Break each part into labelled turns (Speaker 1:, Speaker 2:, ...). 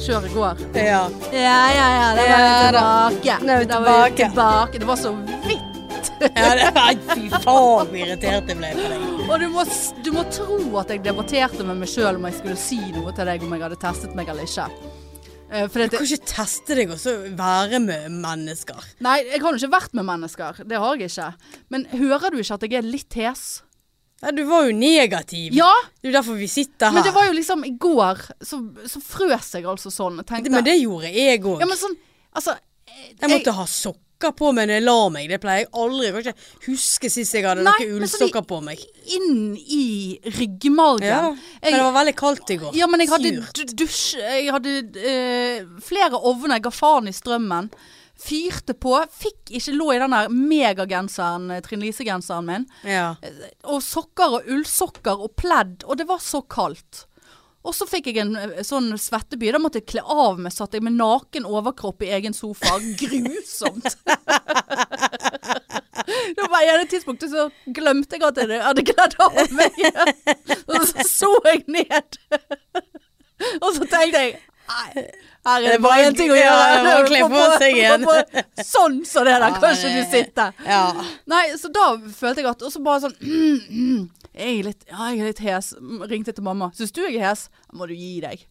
Speaker 1: kjør i går.
Speaker 2: Ja.
Speaker 1: Ja, ja, ja. Da
Speaker 2: Ja
Speaker 1: var vi tilbake.
Speaker 2: Nå er vi
Speaker 1: Da var vi
Speaker 2: tilbake.
Speaker 1: tilbake. Det var så vidt.
Speaker 2: ja det, nei, fy faen, irritert jeg ble på deg.
Speaker 1: Og du må, s- du må tro at jeg debatterte med meg sjøl om jeg skulle si noe til deg om jeg hadde testet meg eller ikke. Eh, For
Speaker 2: Du
Speaker 1: det,
Speaker 2: kan ikke teste deg og så være med mennesker.
Speaker 1: nei, jeg har jo ikke vært med mennesker. Det har jeg ikke. Men hører du ikke at jeg er litt hes?
Speaker 2: Nei, du var jo negativ.
Speaker 1: Ja,
Speaker 2: Det er jo derfor vi sitter her.
Speaker 1: men det var jo liksom i går. Så, så frøs jeg altså sånn. og Tenkte,
Speaker 2: Det- men det gjorde jeg òg.
Speaker 1: Ja, men sånn, altså
Speaker 2: jeg måtte ha sokker på meg når jeg la meg. Det pleier jeg aldri. Jeg kan ikke huske sist jeg hadde
Speaker 1: Nei,
Speaker 2: noen
Speaker 1: men så de-
Speaker 2: ullsokker på meg.
Speaker 1: inn i ryggmargen.
Speaker 2: Ja,
Speaker 1: jeg,
Speaker 2: Men det var veldig kaldt i går.
Speaker 1: ja, men jeg hadde
Speaker 2: Sur.
Speaker 1: du- dusj Jeg hadde eh, flere ovner. Jeg ga faen i strømmen. Fyrte på. Fikk ikke lå i den der megagenseren, eh, Trine Lise-genseren min.
Speaker 2: Ja.
Speaker 1: Og sokker og ullsokker og pledd. Og det var så kaldt. Og så fikk jeg en eh, sånn svetteby. Da måtte jeg kle av meg. Satt jeg med naken overkropp i egen sofa. Grusomt. det var ene tidspunktet så glemte jeg at jeg hadde kledd av meg. Og så så jeg ned. Og så tenkte jeg Nei, her er
Speaker 2: Det
Speaker 1: det
Speaker 2: er
Speaker 1: bare
Speaker 2: bare-
Speaker 1: én ting å
Speaker 2: ja,
Speaker 1: gjøre.
Speaker 2: det er bare å kle
Speaker 1: Få
Speaker 2: på seg igjen.
Speaker 1: få på- Sånn som det der.
Speaker 2: Ja,
Speaker 1: Kan ikke
Speaker 2: det-
Speaker 1: du sitte?
Speaker 2: ja.
Speaker 1: Nei, så da følte jeg at Og så bare sånn Jeg er litt, ja, jeg er litt hes. Mm, Ringte til mamma. Syns du jeg er hes? Da Må du gi deg.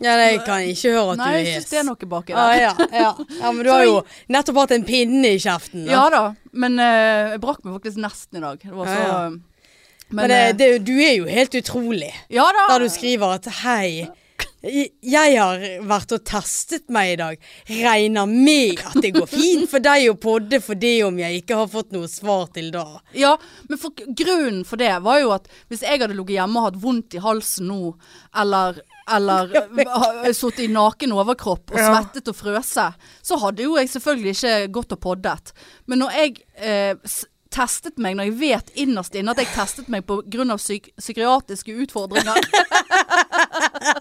Speaker 2: ja, nei, jeg kan ikke høre at
Speaker 1: Nei,
Speaker 2: du
Speaker 1: jeg
Speaker 2: er
Speaker 1: syns det er noe baki
Speaker 2: Ja,
Speaker 1: der.
Speaker 2: ja, ja. ja, men du
Speaker 1: Så
Speaker 2: har
Speaker 1: jeg-
Speaker 2: jo nettopp hatt en pinne i kjeften. Da.
Speaker 1: Ja da, men eh, jeg brakk meg faktisk nesten i dag. Det var så
Speaker 2: Ah, Ja, ja.
Speaker 1: Men,
Speaker 2: men det,
Speaker 1: eh,
Speaker 2: det, du er jo helt utrolig
Speaker 1: Ja da.
Speaker 2: der du skriver at hei, jeg har vært og testet meg i dag. Regner med at det går fint for deg å podde for det om jeg ikke har fått noe svar til da.
Speaker 1: Ja, men for, grunnen for det var jo at hvis jeg hadde ligget hjemme og hatt vondt i halsen nå, eller eller ha- sittet i naken overkropp og
Speaker 2: Ja.
Speaker 1: svettet og frøse, så hadde jo jeg selvfølgelig ikke gått og poddet. Men når jeg eh, s- testet meg, når jeg vet innerst inne at jeg testet meg pga. Psyk psykiatriske utfordringer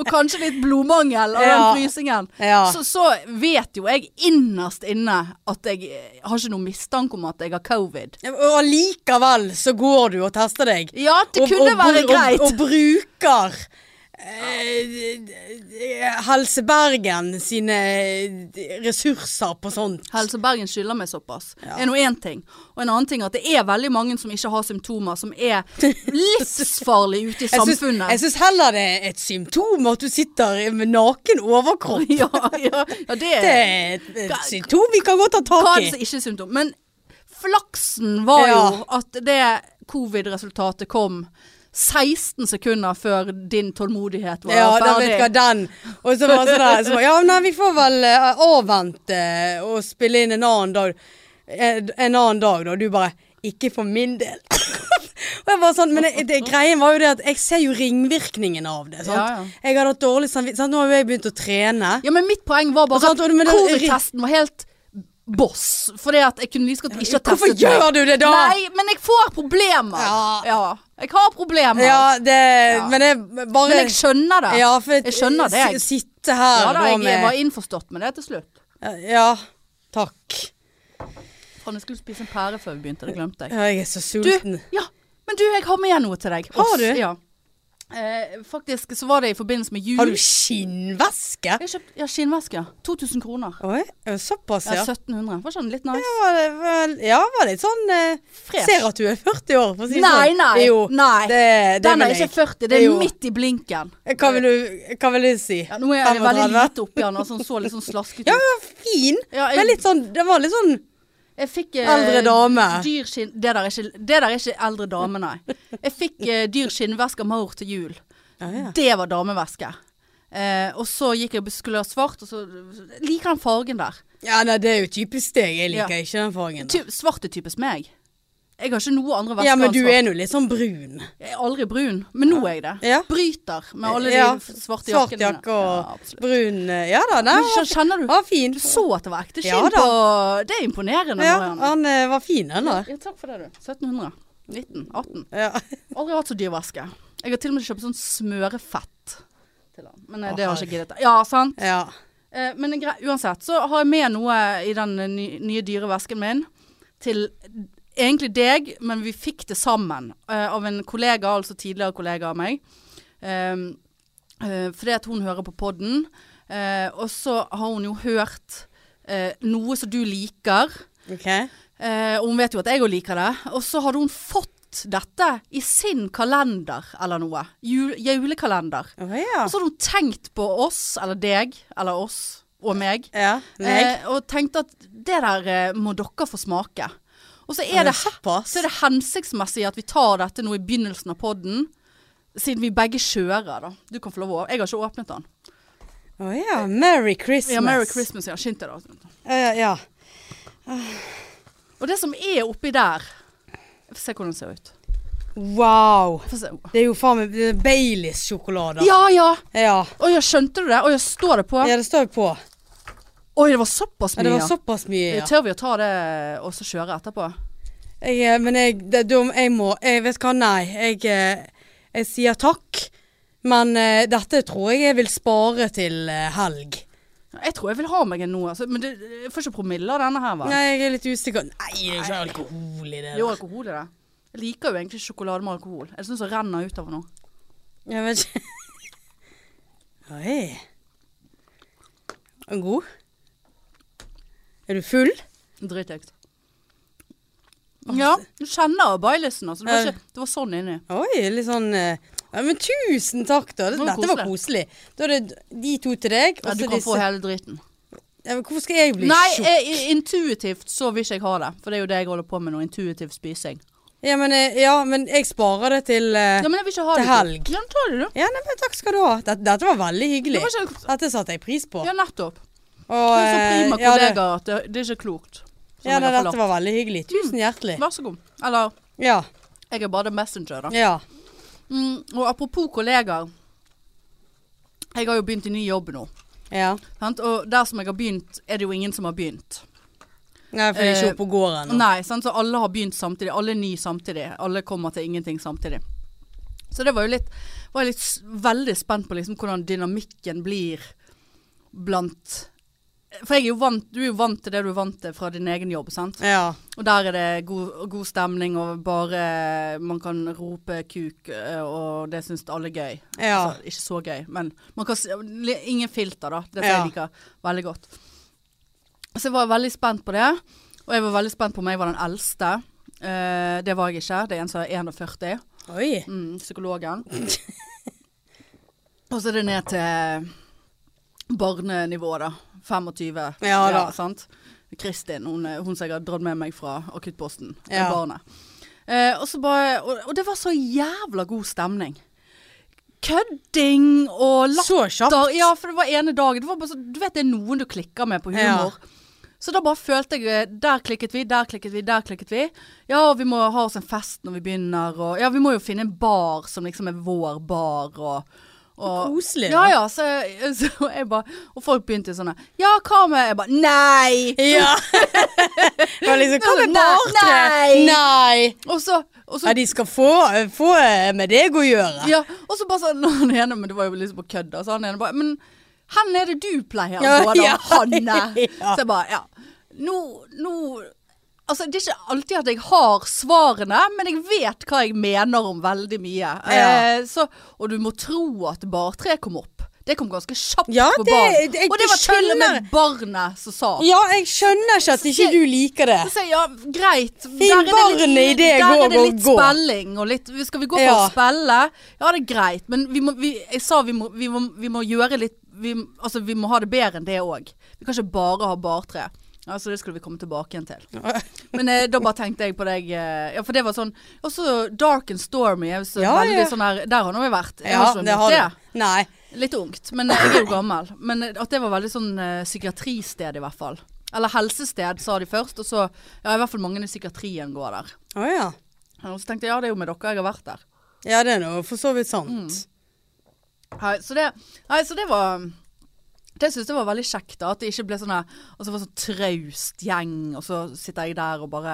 Speaker 1: Og kanskje litt blodmangel og
Speaker 2: Ja.
Speaker 1: den frysingen.
Speaker 2: Ja.
Speaker 1: Så, så vet jo jeg innerst inne at jeg eh, har ikke noen mistanke om at jeg har covid.
Speaker 2: Og allikevel så går du og tester deg.
Speaker 1: Ja, det
Speaker 2: Og-
Speaker 1: kunne
Speaker 2: og,
Speaker 1: være
Speaker 2: bru-
Speaker 1: greit.
Speaker 2: Og, og bruker eh, Helse Bergen sine eh, ressurser på sånt.
Speaker 1: Helse Bergen skylder meg såpass. Det er nå én ting. Og en annen ting er at det er veldig mange som ikke har symptomer, som er livsfarlige ute i
Speaker 2: Jeg syns-
Speaker 1: samfunnet.
Speaker 2: Jeg syns heller det er et symptom at du sitter med naken overkropp.
Speaker 1: ja, ja, ja, det
Speaker 2: Det er
Speaker 1: Eh,
Speaker 2: et, et symptom vi kan godt ta
Speaker 1: Hva
Speaker 2: tak
Speaker 1: er det som
Speaker 2: i.
Speaker 1: ikke er symptom? Men flaksen var jo at det covid-resultatet kom 16 sekunder før din tålmodighet var
Speaker 2: Ja, da vet
Speaker 1: ferdig.
Speaker 2: jeg hva den Og så var det sånn der så var, Ja, nei, vi får vel eh, avvente og spille inn en annen dag. En, en annen dag, da. Og Du bare Ikke for min del. og jeg var sånn, Men det, det, greien var jo det at jeg ser jo ringvirkningen av det. Sant?
Speaker 1: Ja, ja.
Speaker 2: Jeg hadde hatt dårlig samvittighet. sant? Nå har jo jeg begynt å trene.
Speaker 1: Ja, men mitt poeng var
Speaker 2: Og
Speaker 1: bare
Speaker 2: så
Speaker 1: at
Speaker 2: hadde du med den-
Speaker 1: covid-testen var helt boss. Fordi at jeg kunne lyst til at jeg ikke har
Speaker 2: Hvorfor
Speaker 1: testet
Speaker 2: gjør du det da?
Speaker 1: Nei, men jeg får problemer.
Speaker 2: Ja.
Speaker 1: Jeg har problemer.
Speaker 2: Ja, det Men det er bare
Speaker 1: Men jeg skjønner det.
Speaker 2: ja, for,
Speaker 1: jeg skjønner det, jeg.
Speaker 2: s- Sitte her
Speaker 1: Ja da,
Speaker 2: da
Speaker 1: jeg var
Speaker 2: med
Speaker 1: innforstått med det til slutt.
Speaker 2: Ja, takk.
Speaker 1: Faen, jeg skulle spise en pære før vi begynte, det glemte jeg.
Speaker 2: Ja, jeg er så
Speaker 1: Du,
Speaker 2: sulten.
Speaker 1: ja, men du, jeg har med noe til deg.
Speaker 2: Har du?
Speaker 1: Ja. Eh, faktisk så var det i forbindelse med jul.
Speaker 2: Har du skinnvæske?
Speaker 1: Jeg kjøpte ja, skinnveske. 2000 kroner.
Speaker 2: Oi, ja, såpass,
Speaker 1: Ja,
Speaker 2: ja.
Speaker 1: 1700. Var ikke den litt nice?
Speaker 2: var det vel, ja, var litt sånn eh,
Speaker 1: Fresh.
Speaker 2: Ser at du er 40 år, for å si det
Speaker 1: Nei,
Speaker 2: sånn.
Speaker 1: nei,
Speaker 2: Jo,
Speaker 1: nei.
Speaker 2: Det, det
Speaker 1: Den er
Speaker 2: vil jeg.
Speaker 1: ikke 40, det er
Speaker 2: Jo.
Speaker 1: midt i blinken.
Speaker 2: Hva vil du, hva vil du si?
Speaker 1: Ja, nå er det veldig
Speaker 2: 35?
Speaker 1: lite oppi den, og sånn så litt sånn slasket ut.
Speaker 2: Ja, den var fin.
Speaker 1: Ja, jeg-
Speaker 2: Men litt sånn, det var litt sånn
Speaker 1: Jeg fikk eh,
Speaker 2: eldre dame.
Speaker 1: dyr skinn... Det der er ikke, det der er ikke eldre dame, nei. Jeg fikk eh, dyr skinnveske av Maur til jul.
Speaker 2: Ja, ja.
Speaker 1: Det var dameveske. Eh, og så gikk jeg og skulle ha svart, og så jeg liker den fargen der.
Speaker 2: ja, nei, det er jo typisk deg. Jeg
Speaker 1: Ja.
Speaker 2: liker ikke den fargen.
Speaker 1: Ty svart er typisk meg. Jeg har ikke noe andre vesker
Speaker 2: Ja, men
Speaker 1: enn
Speaker 2: du
Speaker 1: svart.
Speaker 2: er nå litt sånn brun.
Speaker 1: Jeg er aldri brun, men nå er jeg det.
Speaker 2: Ja.
Speaker 1: Bryter med alle de
Speaker 2: Ja,
Speaker 1: f- svarte
Speaker 2: Svart
Speaker 1: jakkene
Speaker 2: jakke
Speaker 1: Ja,
Speaker 2: og
Speaker 1: absolutt.
Speaker 2: brun eh, Ja da, nei,
Speaker 1: Men
Speaker 2: var,
Speaker 1: kj- kjenner du
Speaker 2: var fin.
Speaker 1: Du så at det var ekte skinn
Speaker 2: Ja, da.
Speaker 1: på Det er imponerende,
Speaker 2: Ja,
Speaker 1: Marianne.
Speaker 2: han eh, var fin, eller?
Speaker 1: Ja, takk for det, du. 1700. 19. 18.
Speaker 2: Ja.
Speaker 1: Aldri hatt så dyr væske. Jeg har til og med kjøpt sånn smørefett til han. Men eh,
Speaker 2: Å,
Speaker 1: det har jeg
Speaker 2: herre.
Speaker 1: ikke giddet. Ja, sant.
Speaker 2: ja.
Speaker 1: Eh, men gre uansett så har jeg med noe i den eh, ny nye dyre vesken min til egentlig deg, men vi fikk det sammen eh, av en kollega, altså tidligere kollega av meg. Eh, Eh, fordi at hun hører på podden. Eh, og så har hun jo hørt eh, noe som du liker.
Speaker 2: Ok.
Speaker 1: Eh, og hun vet jo at jeg òg liker det. Og så hadde hun fått dette i sin kalender eller noe. Jul julekalender.
Speaker 2: Å ja.
Speaker 1: Og så hadde hun tenkt på oss, eller deg, eller oss og meg.
Speaker 2: ja. Meg.
Speaker 1: Eh, og tenkte at det der eh, må dere få smake. Og så
Speaker 2: Er
Speaker 1: er det,
Speaker 2: det såpass?
Speaker 1: så er det hensiktsmessig at vi tar dette nå i begynnelsen av podden. Siden vi begge kjører, da. Du kan få lov å Jeg har ikke åpnet den.
Speaker 2: Å ja. Merry Christmas.
Speaker 1: Ja, Merry Christmas, ja. Skynd deg, da.
Speaker 2: Ja, ja, ja.
Speaker 1: Og det som er oppi der Få se hvordan det ser ut.
Speaker 2: Wow.
Speaker 1: Få se.
Speaker 2: Det er jo faen meg det er Baileys-sjokolade.
Speaker 1: Ja, ja!
Speaker 2: ja.
Speaker 1: Å ja, skjønte du det? Å ja, står det på?
Speaker 2: Ja, det står jo på.
Speaker 1: Oi, det var såpass
Speaker 2: Ja,
Speaker 1: mye.
Speaker 2: det
Speaker 1: ja.
Speaker 2: var såpass mye, ja.
Speaker 1: Tør vi å ta det og så kjøre etterpå?
Speaker 2: Jeg, eh, men jeg, det, da må- jeg må Jeg vet hva, nei. Jeg, eh, jeg sier takk. Men eh, dette tror jeg jeg vil spare til eh, helg.
Speaker 1: Jeg tror jeg vil ha meg en nå, altså. Men det, jeg får ikke promille av denne her, hva?
Speaker 2: Nei, jeg er litt usikker. Nei, det er ikke alkohol i det.
Speaker 1: Det er jo
Speaker 2: der.
Speaker 1: alkohol i det. Jeg liker jo egentlig ikke sjokolade med alkohol. Jeg syns det renner utover nå.
Speaker 2: Jeg vet ikke. Oi. Er den God? Er du full?
Speaker 1: Dritekt. Ja, du kjenner Baileysen, altså. Det var,
Speaker 2: Ja.
Speaker 1: ikke, det var sånn inni.
Speaker 2: Oi, litt sånn eh, ja, Men tusen takk, da.
Speaker 1: Det var
Speaker 2: Dette var koselig. Da er det de to til deg.
Speaker 1: Ja,
Speaker 2: og
Speaker 1: du kan
Speaker 2: så
Speaker 1: få
Speaker 2: Altså, disse-
Speaker 1: hele driten.
Speaker 2: ja, men Hvorfor skal jeg bli
Speaker 1: Nei,
Speaker 2: tjukk?
Speaker 1: jeg, i- intuitivt så vil ikke jeg ha det. For det er jo det jeg holder på med nå. Intuitiv spising.
Speaker 2: Ja, men, eh, ja, men jeg sparer det til eh,
Speaker 1: Ja, men jeg vil ikke ha
Speaker 2: Til
Speaker 1: det.
Speaker 2: helg.
Speaker 1: Ja, men ta det, du.
Speaker 2: Ja, nei, men takk skal du ha. Dette, dette var veldig hyggelig.
Speaker 1: Det var ikke-
Speaker 2: Dette satte jeg pris på.
Speaker 1: Ja, nettopp.
Speaker 2: Og,
Speaker 1: Du er så prima
Speaker 2: eh, ja, det-
Speaker 1: kollega at det, det er ikke klokt. som
Speaker 2: Ja,
Speaker 1: jeg har
Speaker 2: nei, dette
Speaker 1: forlatt. Mm.
Speaker 2: var veldig hyggelig. Tusen hjertelig.
Speaker 1: Vær så god. Eller,
Speaker 2: Ja.
Speaker 1: jeg er bare the messenger, da.
Speaker 2: ja.
Speaker 1: Mm, og apropos kollegaer. Jeg har jo begynt i ny jobb nå.
Speaker 2: Ja.
Speaker 1: Sant? Og der som jeg har begynt, er det jo ingen som har begynt.
Speaker 2: Nei, for jeg er
Speaker 1: Eh,
Speaker 2: ikke oppe og går ennå.
Speaker 1: Nei, sant? så alle har begynt samtidig. Alle er nye samtidig. Alle kommer til ingenting samtidig. Så det var jo litt Var jeg litt s- veldig spent på liksom hvordan dynamikken blir blant For jeg er jo vant, du er jo vant til det du er vant til fra din egen jobb, sant.
Speaker 2: Ja.
Speaker 1: Og der er det god, god stemning og bare Man kan rope kuk, eh, og det syns alle er gøy.
Speaker 2: Ja.
Speaker 1: Altså, ikke så gøy, men man kan, s- li- ingen filter, da. Det som
Speaker 2: Ja.
Speaker 1: jeg liker veldig godt. Så jeg var veldig spent på det. Og jeg var veldig spent på om jeg var den eldste. Eh, det var jeg ikke. Det er en som er 41.
Speaker 2: Oi.
Speaker 1: Mm, psykologen. og så er det ned til barnenivå, da. 25.
Speaker 2: Ja da.
Speaker 1: sant? Kristin, hun, er- hun som jeg har dratt med meg fra akuttposten. Ja.
Speaker 2: Ja.
Speaker 1: Barnet. Eh, og, så bare, og, og det var så jævla god stemning. Kødding og latter.
Speaker 2: Så kjapt.
Speaker 1: Ja, for det var ene dagen. Det var bare så, du vet det er noen du klikker med på humor. Så da bare følte jeg eh, Der klikket vi, der klikket vi, der klikket vi. Ja, og vi må ha oss en fest når vi begynner, og ja, vi må jo finne en bar som liksom er vår bar, og, og
Speaker 2: Koselig.
Speaker 1: Ja
Speaker 2: da.
Speaker 1: ja, så, jeg- så jeg bare Og folk begynte sånn Ja, hva med Jeg bare Nei!
Speaker 2: Ja. Det var liksom, Hva med
Speaker 1: Nei,
Speaker 2: bartre?
Speaker 1: nei.
Speaker 2: Nei.
Speaker 1: Og så, og så
Speaker 2: Ja, de skal få, få eh, med deg å gjøre.
Speaker 1: Ja, og så bare sånn Han ene, men det var jo liksom på kødd, da, så han ene bare Men hen er det du pleier å
Speaker 2: Ja,
Speaker 1: gå, da,
Speaker 2: ja,
Speaker 1: Hanne?
Speaker 2: ja.
Speaker 1: Så jeg bare, ja. Nå, nå Altså, det er ikke alltid at jeg har svarene, men jeg vet hva jeg mener om veldig mye.
Speaker 2: Ja.
Speaker 1: Eh, så, og du må tro at bartre kom opp. Det kom ganske kjapt
Speaker 2: Ja,
Speaker 1: på
Speaker 2: det-
Speaker 1: barn.
Speaker 2: jeg-
Speaker 1: og det var til og
Speaker 2: jeg
Speaker 1: med barnet som sa.
Speaker 2: Ja, jeg skjønner ikke at ikke du liker det.
Speaker 1: Så jeg, ja, greit.
Speaker 2: barnet i det,
Speaker 1: der
Speaker 2: gå,
Speaker 1: er det
Speaker 2: gå,
Speaker 1: litt
Speaker 2: gå.
Speaker 1: spilling og litt Skal vi gå for
Speaker 2: Ja.
Speaker 1: å spille? Ja, det er greit, men vi må, vi, jeg sa vi må, vi må, vi må gjøre litt vi, Altså, vi må ha det bedre enn det òg. Vi kan ikke bare ha bartre. Altså, det skulle vi komme tilbake igjen til. Men eh, da bare tenkte jeg på deg eh, Ja, for det var sånn Også Dark and Stormy. Jeg, så
Speaker 2: Ja,
Speaker 1: veldig
Speaker 2: ja.
Speaker 1: sånn her, der har nå jeg vært. Jeg
Speaker 2: Ja,
Speaker 1: har ikke
Speaker 2: det har
Speaker 1: møtt det.
Speaker 2: du. Nei.
Speaker 1: Litt ungt, men eh, jeg er jo gammel. Men at det var veldig sånn eh, psykiatristed i hvert fall. Eller helsested, sa de først. Og så Ja, i hvert fall mange i psykiatrien går der.
Speaker 2: Å ja.
Speaker 1: Og så tenkte jeg ja, det er jo med dere jeg har vært der.
Speaker 2: Ja, det er nå for så vidt
Speaker 1: Mm.
Speaker 2: sant.
Speaker 1: Nei, så det, nei, så det var det synes jeg var veldig kjekt da, at det ikke ble sånn her- Og så var det sånn traust gjeng, og så sitter jeg der og bare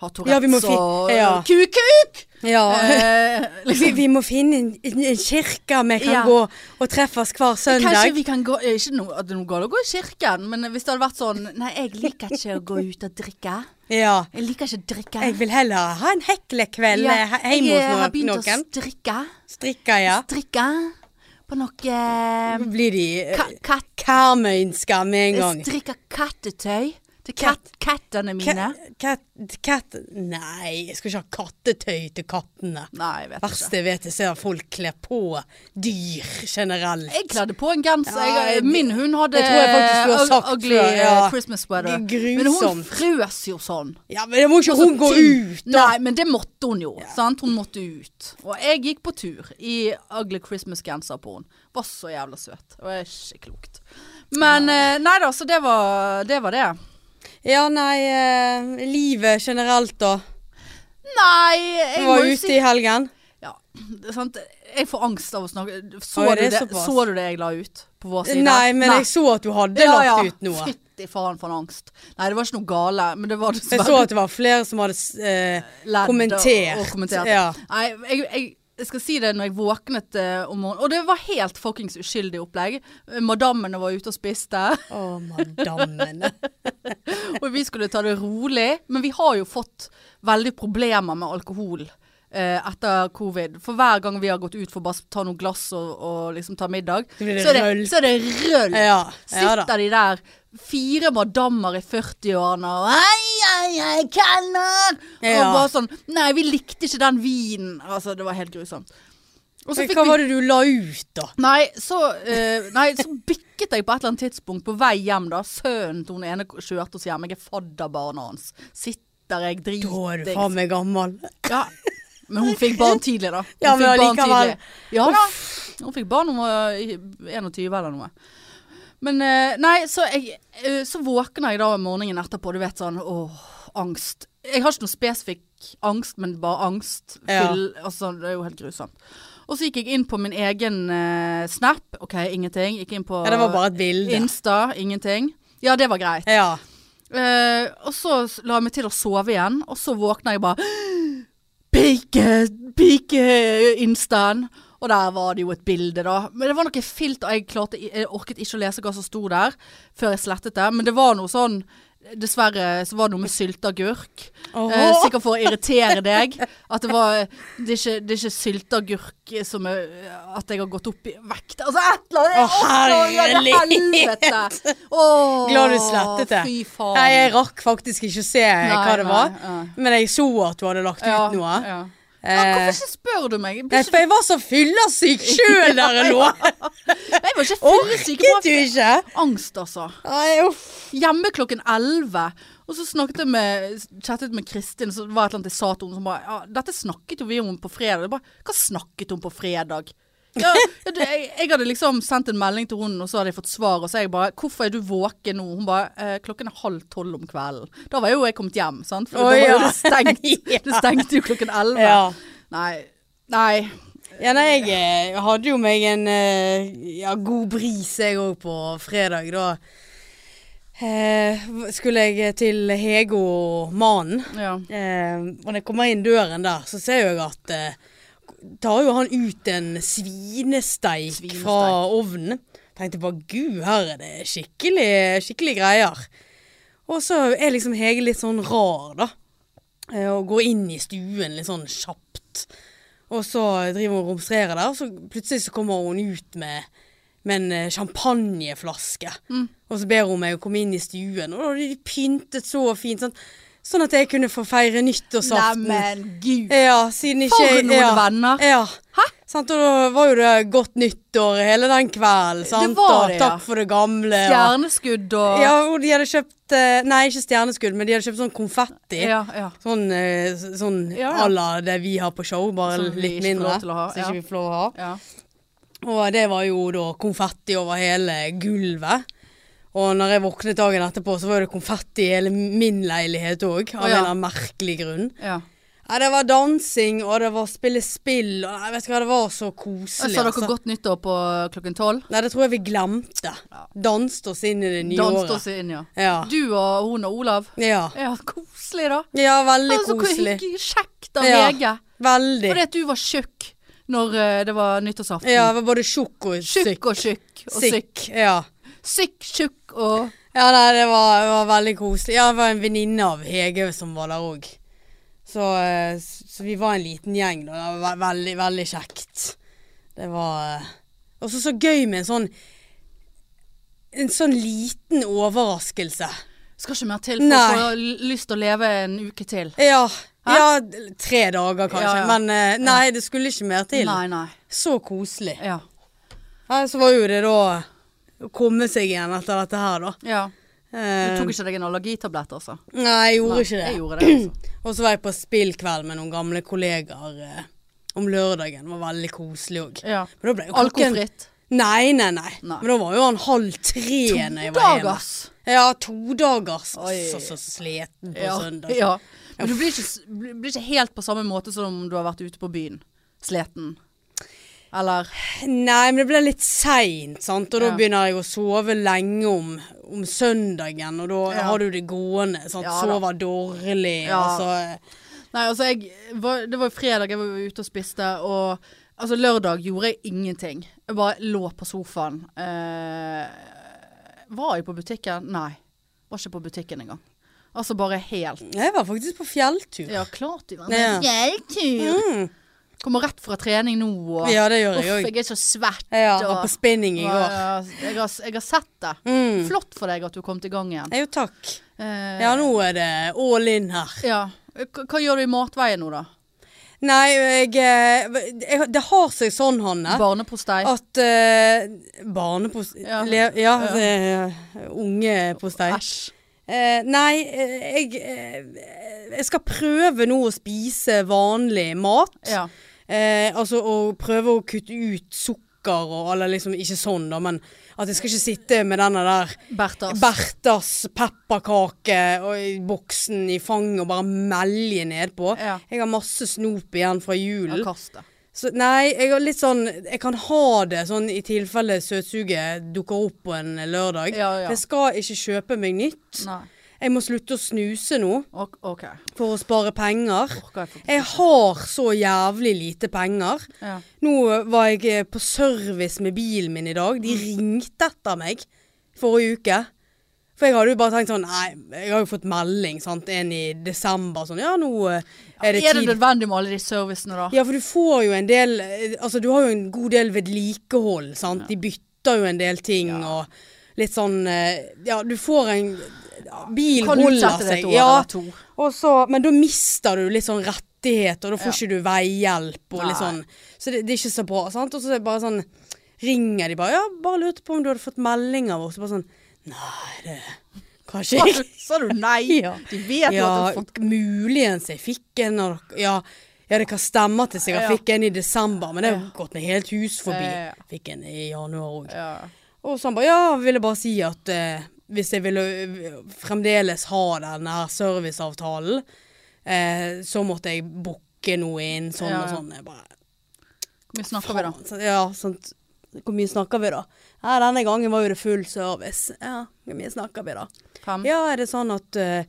Speaker 1: har Tourettes
Speaker 2: Ja, vi må fi-
Speaker 1: og
Speaker 2: ja.
Speaker 1: Kuk-kuk!
Speaker 2: Ja.
Speaker 1: Eh,
Speaker 2: Vi, vi må finne en, en, en kirke vi kan
Speaker 1: Ja.
Speaker 2: gå og treffes hver
Speaker 1: Kanskje
Speaker 2: søndag.
Speaker 1: vi kan gå eh, Ikke noe, at det er noe galt å gå i kirken, men hvis det hadde vært sånn Nei, jeg liker ikke å gå ut og drikke.
Speaker 2: Ja.
Speaker 1: Jeg liker ikke å drikke.
Speaker 2: Jeg vil heller ha en heklekveld
Speaker 1: Ja,
Speaker 2: eh, he- hjemme
Speaker 1: Jeg eh, har
Speaker 2: hos
Speaker 1: begynt
Speaker 2: no- noen.
Speaker 1: å strikke.
Speaker 2: Strikker, ja.
Speaker 1: Strikke. på noe eh,
Speaker 2: Blir de eh,
Speaker 1: ka- katt...
Speaker 2: Karmøynska med en gang.
Speaker 1: Jeg strikker kattetøy til
Speaker 2: Katt-
Speaker 1: kat kattene mine.
Speaker 2: Ka- Katt, katt Nei, jeg skal ikke ha kattetøy til kattene.
Speaker 1: Nei, jeg vet ikke.
Speaker 2: verste jeg vet, jeg ser folk kler på dyr generelt.
Speaker 1: Jeg kladde på en genser.
Speaker 2: Ja,
Speaker 1: Jeg-
Speaker 2: jeg-
Speaker 1: min hund hadde
Speaker 2: det tror jeg faktisk du har
Speaker 1: ug-
Speaker 2: sagt
Speaker 1: ugly
Speaker 2: før, ja.
Speaker 1: eh, Christmas sweater.
Speaker 2: Det er
Speaker 1: Men hun
Speaker 2: grusomt.
Speaker 1: frøs jo sånn.
Speaker 2: Ja, men det må ikke
Speaker 1: Altså,
Speaker 2: hun gå
Speaker 1: til-
Speaker 2: ut, da.
Speaker 1: Nei, men det måtte hun jo. Sant? Hun måtte ut. Og jeg gikk på tur i ugly Christmas-genser på henne. Var så jævla søt. Det var ikke klokt. Men eh, nei da, så det var det. Var det.
Speaker 2: Ja, nei, eh, livet generelt, da.
Speaker 1: Nei, jeg
Speaker 2: Du
Speaker 1: må
Speaker 2: var
Speaker 1: jo
Speaker 2: ute
Speaker 1: si
Speaker 2: i helgen.
Speaker 1: ja, det er sant? Jeg får angst av å snakke. Så,
Speaker 2: Oi,
Speaker 1: du,
Speaker 2: det er
Speaker 1: det,
Speaker 2: såpass.
Speaker 1: så du det jeg la ut på vår side?
Speaker 2: Nei, men jeg så at du hadde lagt ut noe.
Speaker 1: Fytti faen for en angst. Nei, det var ikke noe gale, men det var
Speaker 2: Jeg
Speaker 1: dessverre
Speaker 2: så at det var flere som hadde eh,
Speaker 1: ledd og-
Speaker 2: kommentert.
Speaker 1: Og kommentert.
Speaker 2: Ja.
Speaker 1: Nei, jeg, jeg, jeg skal si det når jeg våknet eh, om morgenen. Og det var helt fuckings uskyldig opplegg. Madammene var ute og spiste,
Speaker 2: Å, madammene.
Speaker 1: og vi skulle ta det rolig. Men vi har jo fått veldig problemer med alkohol. eh, etter covid. For hver gang vi har gått ut for å bare ta noen glass og, og liksom ta middag,
Speaker 2: Så blir det
Speaker 1: så, er
Speaker 2: røll.
Speaker 1: det, så er det røll.
Speaker 2: Ja, ja da.
Speaker 1: Sitter de der, fire madammer i 40-årene og Hei, hei, hei, kelner!
Speaker 2: Ja.
Speaker 1: Og bare sånn Nei, vi likte ikke den vinen. Altså, det var helt grusomt. Og så
Speaker 2: Men
Speaker 1: fikk
Speaker 2: Hva
Speaker 1: vi
Speaker 2: var det du la ut, da?
Speaker 1: Nei så, eh, nei, så bikket jeg på et eller annet tidspunkt på vei hjem, da. Sønnen til hun ene kjørte oss hjem. Jeg er fadderbarnet hans. Sitter jeg
Speaker 2: Da er du
Speaker 1: dritings.
Speaker 2: faen meg gammel.
Speaker 1: Ja. Men hun fikk barn tidlig, da. Hun
Speaker 2: Ja, men
Speaker 1: fikk barn
Speaker 2: allikevel.
Speaker 1: tidlig. Ja da. Hun fikk barn hun var i- 21 eller noe. Men eh, nei, så, jeg, eh, så våkner jeg da om morgenen etterpå, du vet sånn åh, angst. Jeg har ikke noe spesifikk angst, men bare angst.
Speaker 2: Ja.
Speaker 1: Fyll, altså, det er jo helt grusomt. Og så gikk jeg inn på min egen eh, Snap. OK, ingenting. Gikk inn på
Speaker 2: Ja, det var bare et bilde.
Speaker 1: Insta. Ingenting. Ja, det var greit.
Speaker 2: Ja.
Speaker 1: Eh, og så s- la jeg meg til å sove igjen, og så våkna jeg bare Pike! Pike! Instaen! Og der var det jo et bilde, da. Men det var noe filter. Jeg, klarte, i- jeg orket ikke å lese hva som sto der, før jeg slettet det. Men det var noe sånn Dessverre så var det noe med sylteagurk.
Speaker 2: Åh.
Speaker 1: Eh, sikkert for å irritere deg. At det var Det er ikke, det er ikke sylteagurk som er, At jeg har gått opp i vekt. Altså et eller annet!
Speaker 2: Å,
Speaker 1: Jeg orker ikke, Helvete! Åh,
Speaker 2: Glad du slettet det.
Speaker 1: Fy faen.
Speaker 2: Nei, jeg rakk faktisk ikke å se hva det
Speaker 1: nei,
Speaker 2: var.
Speaker 1: ja.
Speaker 2: Men jeg så at du hadde lagt ut noe.
Speaker 1: Ja. Ja,
Speaker 2: Eh,
Speaker 1: hvorfor ikke spør du meg? Jeg,
Speaker 2: nei,
Speaker 1: blir
Speaker 2: for
Speaker 1: ikke,
Speaker 2: jeg var så fyllesyk sjøl der jeg lå.
Speaker 1: jeg var ikke fyllesyk.
Speaker 2: Orket du
Speaker 1: jeg
Speaker 2: ikke?
Speaker 1: bare- Angst, altså.
Speaker 2: Nei, uff.
Speaker 1: Hjemme klokken 11. Og så snakket jeg med, chattet med Kristin, så det var et eller annet jeg sa til henne som bare ja, Dette snakket jo vi om på fredag. Jeg Bare, Hva snakket hun på fredag? Ja, ja, du, jeg, jeg hadde liksom sendt en melding til henne, og så hadde jeg fått svar. Og så jeg bare 'Hvorfor er du våken nå?' Hun bare eh, 'Klokken er halv tolv om kvelden'. Da var jo jeg kommet hjem, sant? For
Speaker 2: Å,
Speaker 1: da var
Speaker 2: ja.
Speaker 1: jo det stengt.
Speaker 2: Ja.
Speaker 1: Det stengte jo klokken 11.
Speaker 2: Ja.
Speaker 1: Nei. Nei.
Speaker 2: Ja, nei, jeg eh, hadde jo meg en eh, ja, god bris jeg òg på fredag. Da eh, skulle jeg til Hege og mannen.
Speaker 1: Ja.
Speaker 2: Eh, og når jeg kommer inn døren der, så ser jeg at eh, Tar jo han ut en svinesteik,
Speaker 1: Svinesteik.
Speaker 2: fra ovnen. Tenkte bare gud, her er det skikkelig, skikkelig greier. Og så er liksom Hege litt sånn rar, da. Eh, og går inn i stuen litt sånn kjapt. Og så driver hun og romstrerer der, og så plutselig så kommer hun ut med, med en eh, champagneflaske.
Speaker 1: Mm.
Speaker 2: Og så ber hun meg å komme inn i stuen, og da hadde de pyntet så fint. Sånn, sånn at jeg kunne få feire nyttårsaften.
Speaker 1: Neimen, gud.
Speaker 2: Ja, siden ikke
Speaker 1: For
Speaker 2: jeg-
Speaker 1: noen
Speaker 2: ja,
Speaker 1: venner.
Speaker 2: Ja.
Speaker 1: Hæ?
Speaker 2: Sant, og da var jo det godt nyttår hele den kvelden. Sant?
Speaker 1: var
Speaker 2: og
Speaker 1: det, ja.
Speaker 2: Takk for det gamle. og-
Speaker 1: Stjerneskudd og
Speaker 2: Ja, og de hadde kjøpt eh, Nei, ikke stjerneskudd, men de hadde kjøpt sånn konfetti.
Speaker 1: ja, ja.
Speaker 2: Sånn, eh, s- sånn
Speaker 1: Ja, ja.
Speaker 2: à la det vi har på show, bare
Speaker 1: Som vi
Speaker 2: litt
Speaker 1: ikke får
Speaker 2: mindre.
Speaker 1: lov til å ha,
Speaker 2: Som
Speaker 1: ja.
Speaker 2: ikke vi får lov til å ha.
Speaker 1: ja.
Speaker 2: Og det var jo da konfetti over hele gulvet. Og når jeg våknet dagen etterpå, så var det konfetti i hele min leilighet òg. Av
Speaker 1: Å,
Speaker 2: en
Speaker 1: ja.
Speaker 2: eller annen merkelig grunn.
Speaker 1: ja.
Speaker 2: Nei, det var dansing, og det var spille spill, og nei, vet du hva, det var så koselig.
Speaker 1: Sa dere
Speaker 2: altså.
Speaker 1: godt nyttår på klokken tolv?
Speaker 2: Nei, det tror jeg vi glemte. Danset oss inn i det nye
Speaker 1: Danset
Speaker 2: året. Ah.
Speaker 1: oss inn, ja.
Speaker 2: Ja.
Speaker 1: Du og hun og Olav?
Speaker 2: ja.
Speaker 1: Ja, koselig, da.
Speaker 2: Ja, veldig
Speaker 1: Altså, hvor
Speaker 2: koselig.
Speaker 1: hygg- Kjekt av
Speaker 2: Ja.
Speaker 1: Hege.
Speaker 2: Veldig.
Speaker 1: Fordi at du var tjukk når eh, det var nyttårsaften.
Speaker 2: Ja, jeg var både tjukk og syk.
Speaker 1: Tjukk og tjukk og syk.
Speaker 2: Syk, Ja.
Speaker 1: Syk, tjukk og
Speaker 2: ja, nei, det var, det var veldig koselig. Ja, det var en venninne av Hege som var der òg. Så, eh, så vi var en liten gjeng, da. Det var ve- veldig, veldig kjekt. Det var eh, Og så så gøy med en sånn En sånn liten overraskelse.
Speaker 1: Skal ikke mer til for
Speaker 2: Nei.
Speaker 1: å få l- lyst til å leve en uke til.
Speaker 2: Ja.
Speaker 1: Hæ?
Speaker 2: ja tre dager, kanskje.
Speaker 1: Ja, ja.
Speaker 2: Men eh, nei, det skulle ikke mer til.
Speaker 1: Nei, nei.
Speaker 2: Så koselig.
Speaker 1: Ja.
Speaker 2: Nei, så var jo det da å komme seg igjen etter dette her, da.
Speaker 1: ja. Du
Speaker 2: Eh,
Speaker 1: tok ikke deg en allergitablett, altså?
Speaker 2: Nei, jeg gjorde
Speaker 1: Nei,
Speaker 2: ikke det.
Speaker 1: Jeg gjorde det, altså.
Speaker 2: Og så var jeg på spillkveld med noen gamle kollegaer eh, om lørdagen. Det var veldig koselig òg.
Speaker 1: Ja.
Speaker 2: Men da ble jo klokken-
Speaker 1: Alkofritt.
Speaker 2: Nei, nei, nei,
Speaker 1: Nei.
Speaker 2: Men da var jo han halv tre når jeg var hjemme.
Speaker 1: Dagers!
Speaker 2: Ja, to dagers.
Speaker 1: Oi.
Speaker 2: Så, så sliten på
Speaker 1: Ja,
Speaker 2: søndag.
Speaker 1: ja. Men du blir ikke, s- blir blir ikke helt på samme måte som om du har vært ute på byen. Sliten. Eller
Speaker 2: Nei, men det ble litt seint, sant. Og da
Speaker 1: Ja.
Speaker 2: begynner jeg å sove lenge om, om søndagen, og da
Speaker 1: Ja.
Speaker 2: har du det gående. Sant?
Speaker 1: Ja da.
Speaker 2: Sover dårlig.
Speaker 1: Ja.
Speaker 2: Altså,
Speaker 1: Nei, altså jeg var, Det var jo fredag jeg var ute og spiste, og altså lørdag gjorde jeg ingenting. Jeg bare lå på sofaen. Eh, var jeg på butikken? Nei. Var ikke på butikken engang. Altså bare helt
Speaker 2: jeg var faktisk på fjelltur.
Speaker 1: Ja, klart du var
Speaker 2: Ja.
Speaker 1: med. Fjelltur!
Speaker 2: Mm.
Speaker 1: Kommer rett fra trening nå og
Speaker 2: Ja, det gjør
Speaker 1: Uff,
Speaker 2: jeg òg.
Speaker 1: jeg er så svett.
Speaker 2: Ja,
Speaker 1: og-
Speaker 2: var på spinning i går.
Speaker 1: Ja, Jeg har, jeg har sett det.
Speaker 2: Mm.
Speaker 1: Flott for deg at du kom til gang igjen.
Speaker 2: Jo, takk.
Speaker 1: Eh,
Speaker 2: Ja, nå er det all in her.
Speaker 1: ja. Hva, hva gjør du i matveien nå, da?
Speaker 2: Nei, jeg, eh, jeg Det har seg sånn, Hanne,
Speaker 1: Barnepostei?
Speaker 2: at eh, Barnepos...
Speaker 1: Ja.
Speaker 2: Ja, ja eh, ungepostei.
Speaker 1: Æsj.
Speaker 2: Eh, nei, eh, jeg, eh, jeg skal prøve nå å spise vanlig mat.
Speaker 1: Ja.
Speaker 2: Eh, altså å prøve å kutte ut sukker og eller liksom ikke sånn, da, men at jeg skal ikke sitte med denne der
Speaker 1: Bertas.
Speaker 2: Berthas pepperkake og i boksen i fanget og bare melje nedpå.
Speaker 1: Ja.
Speaker 2: Jeg har masse snop igjen fra
Speaker 1: Ja,
Speaker 2: julen.
Speaker 1: kast det.
Speaker 2: Så nei, jeg har litt sånn Jeg kan ha det sånn i tilfelle søtsuget dukker opp på en lørdag.
Speaker 1: Ja, ja.
Speaker 2: Jeg skal ikke kjøpe meg nytt.
Speaker 1: Nei.
Speaker 2: Jeg må slutte å snuse nå
Speaker 1: Ok, ok.
Speaker 2: for å spare penger.
Speaker 1: Orker jeg faktisk.
Speaker 2: Jeg har så jævlig lite penger.
Speaker 1: Ja.
Speaker 2: Nå var jeg eh, på service med bilen min i dag. De
Speaker 1: Mm.
Speaker 2: ringte etter meg forrige uke. For jeg hadde jo bare tenkt sånn Nei, jeg har jo fått melding, sant. En i desember sånn Ja, nå eh, er det
Speaker 1: Er det
Speaker 2: tid.
Speaker 1: nødvendig med alle de servicene, da?
Speaker 2: Ja, for du får jo en del eh, Altså, du har jo en god del vedlikehold, sant. De bytter jo en del ting og litt sånn eh, Ja, du får en Bil
Speaker 1: Kan du
Speaker 2: holder
Speaker 1: utsette det
Speaker 2: seg.
Speaker 1: et år
Speaker 2: Ja,
Speaker 1: eller to?
Speaker 2: og så, men da mister du litt sånn rettigheter, og da får
Speaker 1: Ja.
Speaker 2: ikke du veihjelp og litt
Speaker 1: Nei.
Speaker 2: sånn. Så det, det er ikke så bra, sant. Og så er det bare sånn ringer de bare Ja, bare lurte på om du hadde fått melding av oss. Og bare sånn Nei, det Kanskje ikke.
Speaker 1: Sa du nei?
Speaker 2: Ja.
Speaker 1: De vet jo
Speaker 2: Ja,
Speaker 1: at du har fått
Speaker 2: muligens jeg fikk en av dere ja, ja, det kan stemme at jeg sikkert
Speaker 1: Ja.
Speaker 2: fikk en i desember, men det har
Speaker 1: Ja.
Speaker 2: gått meg helt hus forbi.
Speaker 1: Ja, ja, ja.
Speaker 2: Fikk en i januar òg.
Speaker 1: ja.
Speaker 2: Og så han bare Ja, ville bare si at eh, hvis jeg ville eh, fremdeles ha denne her serviceavtalen, eh, så måtte jeg booke noe inn, sånn
Speaker 1: Ja,
Speaker 2: og
Speaker 1: ja.
Speaker 2: sånn. Jeg bare,
Speaker 1: Hvor mye snakker vi, da?
Speaker 2: faen, så- Ja, sant. Hvor mye snakker vi, da? Ja, denne gangen var jo det full service. Ja, hvor mye snakker vi, da?
Speaker 1: Fem?
Speaker 2: Ja, er det sånn at eh,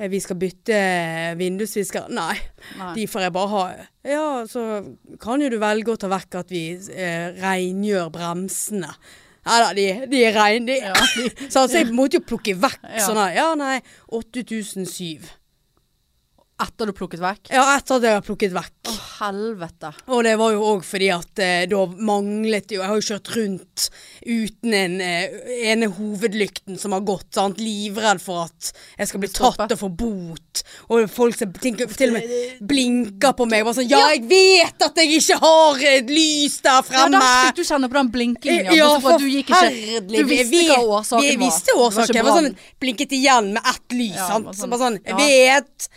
Speaker 2: vi skal bytte vindusvisker? Nei.
Speaker 1: Nei.
Speaker 2: De får jeg bare ha. Ja, så kan jo du velge å ta vekk at vi eh, rengjør bremsene. Nei da, de, de er rein... De.
Speaker 1: Ja.
Speaker 2: Så altså, jeg måtte jo plukke vekk
Speaker 1: Ja.
Speaker 2: sånn her. Ja, nei, 8007.
Speaker 1: Etter du plukket vekk?
Speaker 2: Ja, etter at jeg har plukket
Speaker 1: Å,
Speaker 2: vekk.
Speaker 1: helvete.
Speaker 2: Og det var jo òg fordi at eh, da manglet jo Jeg har jo kjørt rundt uten en eh, ene hovedlykten som har gått, sant. Livredd for at jeg skal bli
Speaker 1: stoppet.
Speaker 2: tatt og få bot. Og folk som tenker, til og med blinker på meg. Bare sånn Ja, jeg vet at jeg ikke har et lys der
Speaker 1: Ja,
Speaker 2: fremme!
Speaker 1: der fikk du kjenne på den blinkingen.
Speaker 2: Ja,
Speaker 1: bortsett fra at du gikk ikke
Speaker 2: forferdelig.
Speaker 1: Du visste
Speaker 2: Jeg
Speaker 1: hva
Speaker 2: vet-
Speaker 1: årsaken var.
Speaker 2: Jeg visste årsaken.
Speaker 1: Det
Speaker 2: Jeg var
Speaker 1: var ikke
Speaker 2: sånn, blinket igjen med ett lys.
Speaker 1: Ja,
Speaker 2: sant?
Speaker 1: bare sånn,
Speaker 2: så bare sånn, jeg
Speaker 1: ja.
Speaker 2: vet.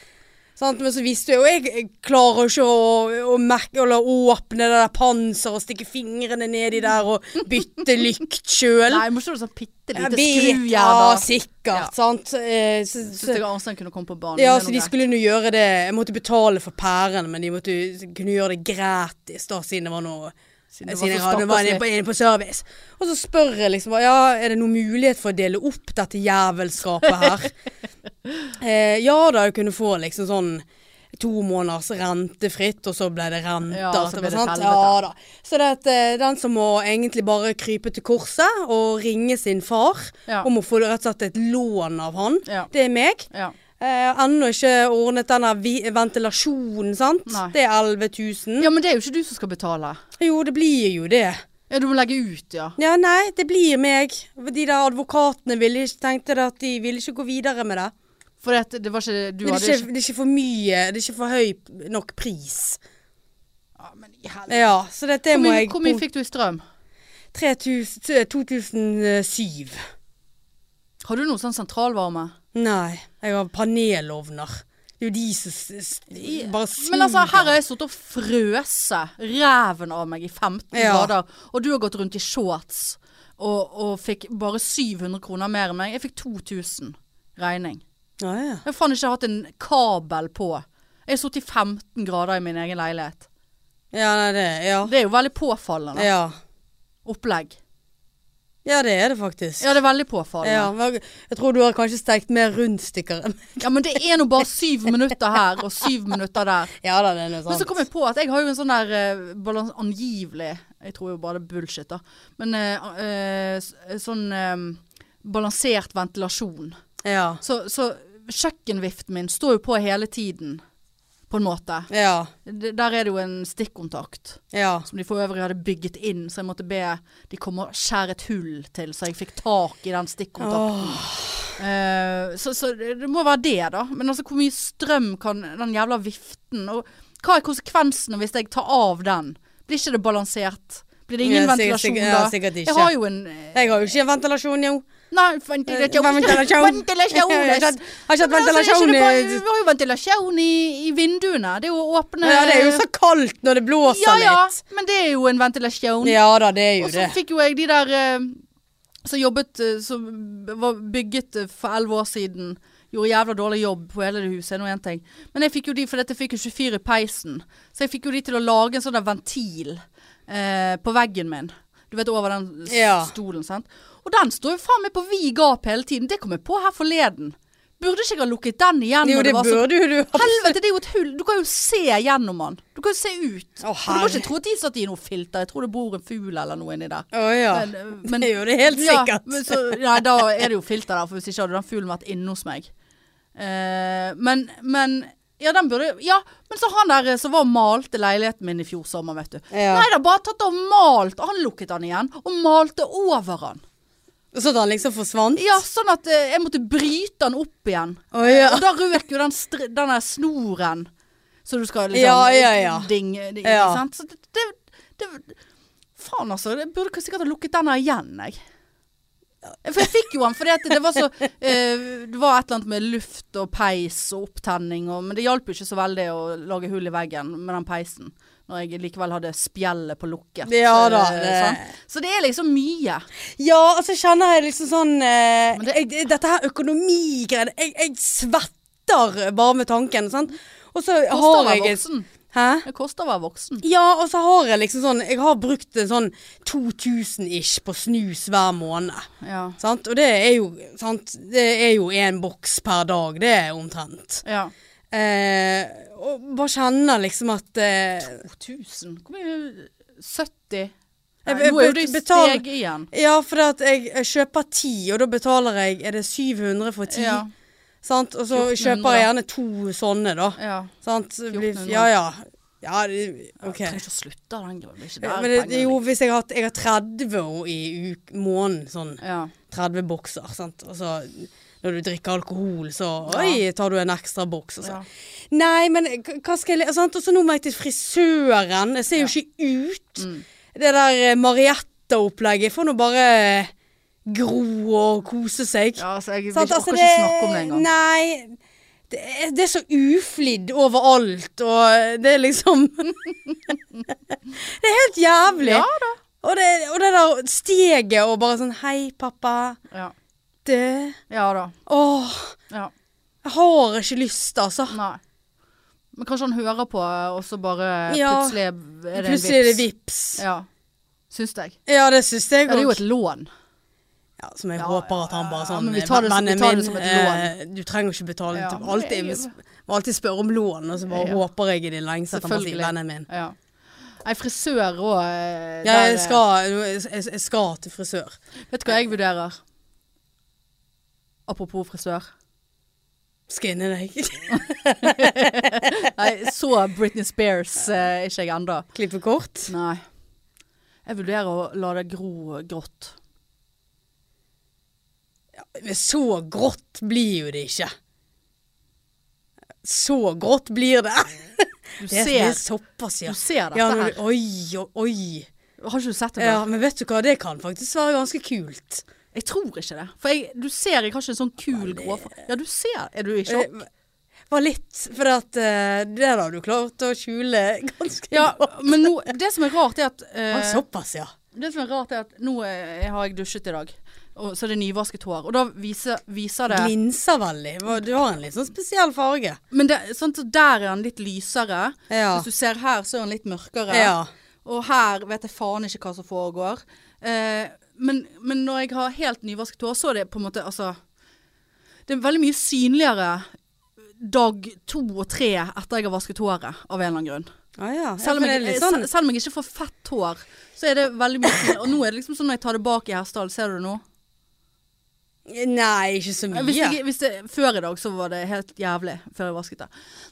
Speaker 2: Sant? Men så visste jeg, og jeg jeg klarer jo ikke å, å merke, eller åpne det der panseret og stikke fingrene nedi der og bytte lykt sjøl.
Speaker 1: Nei, må ikke du sånn bitte lite
Speaker 2: ja,
Speaker 1: skrujern? Ja.
Speaker 2: sikkert. Sant? Eh, så,
Speaker 1: Syns
Speaker 2: så,
Speaker 1: jeg Arnstein kunne komme på banen.
Speaker 2: ja,
Speaker 1: det er
Speaker 2: så
Speaker 1: noe
Speaker 2: de
Speaker 1: greit.
Speaker 2: skulle nå gjøre det Jeg måtte betale for pæren, men de måtte jo kunne gjøre det gratis, da, siden det var noe
Speaker 1: Siden det var
Speaker 2: siden jeg
Speaker 1: så
Speaker 2: hadde var
Speaker 1: stakkarslig.
Speaker 2: inne på, inne på service. Og så spør jeg liksom Ja, er det noen mulighet for å dele opp dette jævelskapet her? eh, ja da, jeg kunne få liksom sånn to måneders rentefritt, og så ble det renter.
Speaker 1: Ja, så ble
Speaker 2: etterpå,
Speaker 1: det
Speaker 2: sant?
Speaker 1: helvete.
Speaker 2: ja da. Så det at eh, den som må egentlig bare krype til korset og ringe sin far
Speaker 1: Ja.
Speaker 2: om å få rett og slett et lån av han,
Speaker 1: Ja.
Speaker 2: det er meg.
Speaker 1: ja.
Speaker 2: Eh, Ennå ikke ordnet denne vi- ventilasjonen, sant?
Speaker 1: Nei.
Speaker 2: Det er 11 000.
Speaker 1: ja, men det er jo ikke du som skal betale.
Speaker 2: Jo, det blir jo det.
Speaker 1: Ja, du må legge ut, ja.
Speaker 2: Ja, nei, det blir meg. De der advokatene ville ikke, tenkte det at de ville ikke gå videre med det.
Speaker 1: For det, det var ikke Du
Speaker 2: Det er
Speaker 1: hadde
Speaker 2: ikke,
Speaker 1: ikke
Speaker 2: det er ikke for mye, det er ikke for høy p- nok pris.
Speaker 1: Ja, men i helvete.
Speaker 2: Ja, så dette
Speaker 1: Hvor
Speaker 2: må
Speaker 1: mye,
Speaker 2: jeg
Speaker 1: hvor mye fikk du i strøm?
Speaker 2: 3000 t- 2007.
Speaker 1: Har du noe sånn sentralvarme?
Speaker 2: Nei, jeg har panelovner. Det er jo de som s- s- bare suger.
Speaker 1: Men altså, her har jeg sittet og frøse ræven av meg i 15
Speaker 2: Ja.
Speaker 1: grader, og du har gått rundt i shorts og, og fikk bare 700 kroner mer enn meg. Jeg fikk 2000 regning.
Speaker 2: Ja, ja.
Speaker 1: Jeg har faen ikke hatt en kabel på. Jeg har sittet i 15 grader i min egen leilighet.
Speaker 2: Ja, nei, det, ja.
Speaker 1: Det er jo veldig påfallende
Speaker 2: ja.
Speaker 1: opplegg.
Speaker 2: Ja, det er det faktisk.
Speaker 1: Ja, det er veldig påfallende.
Speaker 2: Ja, men jeg tror du har kanskje stekt mer rundstykker enn
Speaker 1: Ja, men det er nå bare syv minutter her og syv minutter der.
Speaker 2: Ja da, det er noe
Speaker 1: Men så kom jeg på at jeg har jo en sånn der eh, balans, angivelig Jeg tror jo bare det er bullshit, da. Men eh, eh, s- sånn eh, balansert ventilasjon.
Speaker 2: Ja.
Speaker 1: Så, så kjøkkenviften min står jo på hele tiden, på en måte.
Speaker 2: Ja.
Speaker 1: D- Der er det jo en stikkontakt.
Speaker 2: Ja.
Speaker 1: Som de for øvrig hadde bygget inn, så jeg måtte be de komme og skjære et hull til, så jeg fikk tak i den stikkontakten. Eh, så, så det det må være det, da. Men altså, hvor mye strøm kan den jævla viften Og hva er konsekvensene hvis jeg tar av den? Blir ikke det balansert? Blir det ingen
Speaker 2: Ja, sikkert-
Speaker 1: ventilasjon
Speaker 2: sikkert- ja,
Speaker 1: da?
Speaker 2: sikkert ikke.
Speaker 1: Jeg har jo en eh,
Speaker 2: Jeg har jo ikke ventilasjon, jo.
Speaker 1: Nei, ventilasjon
Speaker 2: Ventilasjon.
Speaker 1: Ventilasjon!
Speaker 2: Jeg har ikke hatt- har ikke hatt
Speaker 1: Men altså,
Speaker 2: ventilasjon
Speaker 1: det er ikke
Speaker 2: i
Speaker 1: det bare- Vi har jo ventilasjon i, i vinduene. Det er jo åpne
Speaker 2: Ja, det er jo så kaldt når det blåser
Speaker 1: ja, ja,
Speaker 2: litt.
Speaker 1: men det er jo en ventilasjon.
Speaker 2: Ja da, det er jo
Speaker 1: Og så
Speaker 2: det.
Speaker 1: fikk jo jeg de der eh, som jobbet eh, Som var bygget eh, for elleve år siden. Gjorde jævla dårlig jobb på hele det huset, det er nå én ting. Men jeg fikk jo de, for dette fikk jo 24 i peisen. Så jeg fikk jo de til å lage en sånn der ventil eh, på veggen min. Du vet over den s-
Speaker 2: Ja.
Speaker 1: stolen, sant. Og den står jo faen meg på vid gap hele tiden. Det kom jeg på her forleden. Burde ikke jeg ha lukket den igjen?
Speaker 2: Jo,
Speaker 1: når
Speaker 2: det
Speaker 1: var så
Speaker 2: burde jo du ha.
Speaker 1: Helvete, det er jo et hull. Du kan jo se gjennom den. Du kan jo se ut.
Speaker 2: Å,
Speaker 1: Og du må
Speaker 2: herre.
Speaker 1: ikke tro at de satt i noe filter. Jeg tror det bor en fugl eller noe inni der.
Speaker 2: Å ja.
Speaker 1: Men- eh, men-
Speaker 2: det er jo det helt
Speaker 1: Ja,
Speaker 2: sikkert.
Speaker 1: men så, nei, da er det jo filter der, for hvis ikke hadde den fuglen vært inne hos meg. Eh, men, men Ja, den burde Ja, men så han der eh, som var og malte leiligheten min i fjor sommer, vet du.
Speaker 2: Ja.
Speaker 1: Nei da, bare tatt og malt. Han lukket den igjen, og malte over han.
Speaker 2: Så at han liksom forsvant?
Speaker 1: Ja, sånn at eh, jeg måtte bryte den opp igjen.
Speaker 2: Å ja.
Speaker 1: Og da røk jo den str denne snoren. Så du skal liksom
Speaker 2: Ja, ja, ja.
Speaker 1: ding, ding
Speaker 2: Ja.
Speaker 1: sant? Så det, det, det Faen, altså. Jeg burde ikke sikkert ha lukket den her igjen, jeg. For jeg fikk jo den fordi at det var så eh, Det var et eller annet med luft og peis og opptenning og Men det hjalp jo ikke så veldig å lage hull i veggen med den peisen. Når jeg likevel hadde spjeldet på lukket.
Speaker 2: Ja da,
Speaker 1: eh,
Speaker 2: det-
Speaker 1: sant? Så det er liksom mye.
Speaker 2: Ja, altså kjenner jeg liksom sånn eh,
Speaker 1: Men det-
Speaker 2: jeg, Dette her økonomigreiene jeg, jeg svetter bare med tanken. Sant? Og så
Speaker 1: Koster å
Speaker 2: har
Speaker 1: være
Speaker 2: jeg
Speaker 1: voksen.
Speaker 2: Hæ?
Speaker 1: Det koster å være voksen.
Speaker 2: Ja, og så har jeg liksom sånn Jeg har brukt en sånn 2000-ish på snus hver måned.
Speaker 1: Ja.
Speaker 2: Sant? Og det er jo sant? Det er jo én boks per dag, det er omtrent.
Speaker 1: ja.
Speaker 2: Eh, og bare kjenner liksom at eh,
Speaker 1: 2000? Sånn, Hvor mye 70?
Speaker 2: Jeg-
Speaker 1: Nei,
Speaker 2: jeg
Speaker 1: nå er jo det i
Speaker 2: betal-
Speaker 1: steg igjen.
Speaker 2: Ja, for at jeg, jeg kjøper ti, og da betaler jeg Er det 700 for ti?
Speaker 1: Ja,
Speaker 2: Sant? Og så
Speaker 1: 1400.
Speaker 2: kjøper jeg gjerne to sånne, da.
Speaker 1: ja.
Speaker 2: Sant? Det blir-
Speaker 1: 1400.
Speaker 2: Ja, ja. Ja, det-
Speaker 1: Jeg
Speaker 2: OK.
Speaker 1: trenger ikke å slutte av den grunnen. Det er ikke
Speaker 2: Ja,
Speaker 1: der
Speaker 2: Men det,
Speaker 1: pengene
Speaker 2: jo,
Speaker 1: ligger.
Speaker 2: hvis jeg har, jeg har 30 i uk- måneden, sånn
Speaker 1: ja.
Speaker 2: 30 bokser, sant? Og så når du drikker alkohol, så
Speaker 1: Ja.
Speaker 2: Oi, tar du en ekstra boks, og så
Speaker 1: Ja.
Speaker 2: Nei, men k- hva skal jeg le- sant? Og så nå må jeg til frisøren. Jeg ser jo ikke ut.
Speaker 1: Mm.
Speaker 2: Det der eh, Marietta-opplegget får nå bare eh, gro og kose seg.
Speaker 1: ja, altså jeg vil
Speaker 2: Sant,
Speaker 1: ikke,
Speaker 2: altså,
Speaker 1: orker ikke snakke om det engang.
Speaker 2: Nei. Det, er- det er så uflidd overalt, og det er liksom Det er helt jævlig.
Speaker 1: Ja da.
Speaker 2: Og, det, og det der steget og bare sånn Hei, pappa.
Speaker 1: Ja,
Speaker 2: Det
Speaker 1: ja da.
Speaker 2: Åh,
Speaker 1: Ja.
Speaker 2: jeg har ikke lyst, altså.
Speaker 1: Nei. Men kanskje han hører på, eh, og så bare
Speaker 2: Ja.
Speaker 1: plutselig er det en vips.
Speaker 2: Plutselig er det vips.
Speaker 1: Ja. Syns jeg.
Speaker 2: Ja, det syns jeg
Speaker 1: Ja, det er jo et
Speaker 2: òg.
Speaker 1: lån.
Speaker 2: Ja, som jeg
Speaker 1: Ja,
Speaker 2: håper at han
Speaker 1: ja,
Speaker 2: bare sånn
Speaker 1: men vi tar det som- vi
Speaker 2: «Vennen
Speaker 1: tar det
Speaker 2: min,
Speaker 1: som et
Speaker 2: eh, Du trenger ikke betale.
Speaker 1: Ja,
Speaker 2: til-
Speaker 1: men
Speaker 2: alltid,
Speaker 1: jeg-
Speaker 2: jeg må alltid spørre om lån, og så bare
Speaker 1: Ja.
Speaker 2: håper jeg i det lengste at han bare sier
Speaker 1: Selvfølgelig.
Speaker 2: 'vennen min'.
Speaker 1: Ja. Nei, frisør og eh,
Speaker 2: Ja,
Speaker 1: der, eh,
Speaker 2: jeg skal, jeg, jeg skal til frisør.
Speaker 1: Vet du hva jeg vurderer? Apropos frisør.
Speaker 2: Skinne deg.
Speaker 1: Nei, så Britney Spears eh, ikke jeg enda.
Speaker 2: Klippe kort.
Speaker 1: Nei. Jeg vurderer å la det gro grått.
Speaker 2: Men så grått blir jo det ikke. Så grått blir det.
Speaker 1: Du
Speaker 2: Det er,
Speaker 1: ser,
Speaker 2: det er såpass, ja.
Speaker 1: du ser dette
Speaker 2: ja når
Speaker 1: her.
Speaker 2: du, oi, oi, oi.
Speaker 1: Har ikke du sett det før?
Speaker 2: Ja, men vet du hva, det kan faktisk være ganske kult.
Speaker 1: Jeg tror ikke det. For jeg, du ser jeg har ikke en sånn kul gråfarge. Ja, du ser. Er du i sjokk?
Speaker 2: Eh, Bare litt, for at, eh, det der har du klart å skjule ganske
Speaker 1: Ja,
Speaker 2: godt.
Speaker 1: men nå, det som er rart, er at
Speaker 2: Ja,
Speaker 1: eh,
Speaker 2: såpass, ja.
Speaker 1: Det som er rart er at nå eh, har jeg dusjet i dag, og, så er det nyvasket hår. Og da viser, viser det
Speaker 2: Glinser veldig. Hva- Du har en litt sånn spesiell farge.
Speaker 1: Men det, sånn, så der er han litt lysere.
Speaker 2: Ja.
Speaker 1: Hvis du ser her, så er han litt mørkere.
Speaker 2: Ja.
Speaker 1: Og her vet jeg faen ikke hva som foregår. Eh, men, men når jeg har helt nyvasket hår, så er det på en måte altså Det er veldig mye synligere dag to og tre etter jeg har vasket håret, av en eller annen grunn.
Speaker 2: Ah, ja.
Speaker 1: Selv om,
Speaker 2: ja, for det er
Speaker 1: jeg,
Speaker 2: litt sånn.
Speaker 1: sel- selv om jeg ikke får fett hår, så er det veldig mye synlig. Og nå er det liksom sånn når jeg tar det bak i Hessdal, ser du det nå?
Speaker 2: Nei, ikke så mye.
Speaker 1: Hvis jeg, hvis det, før i dag så var det helt jævlig før jeg vasket det.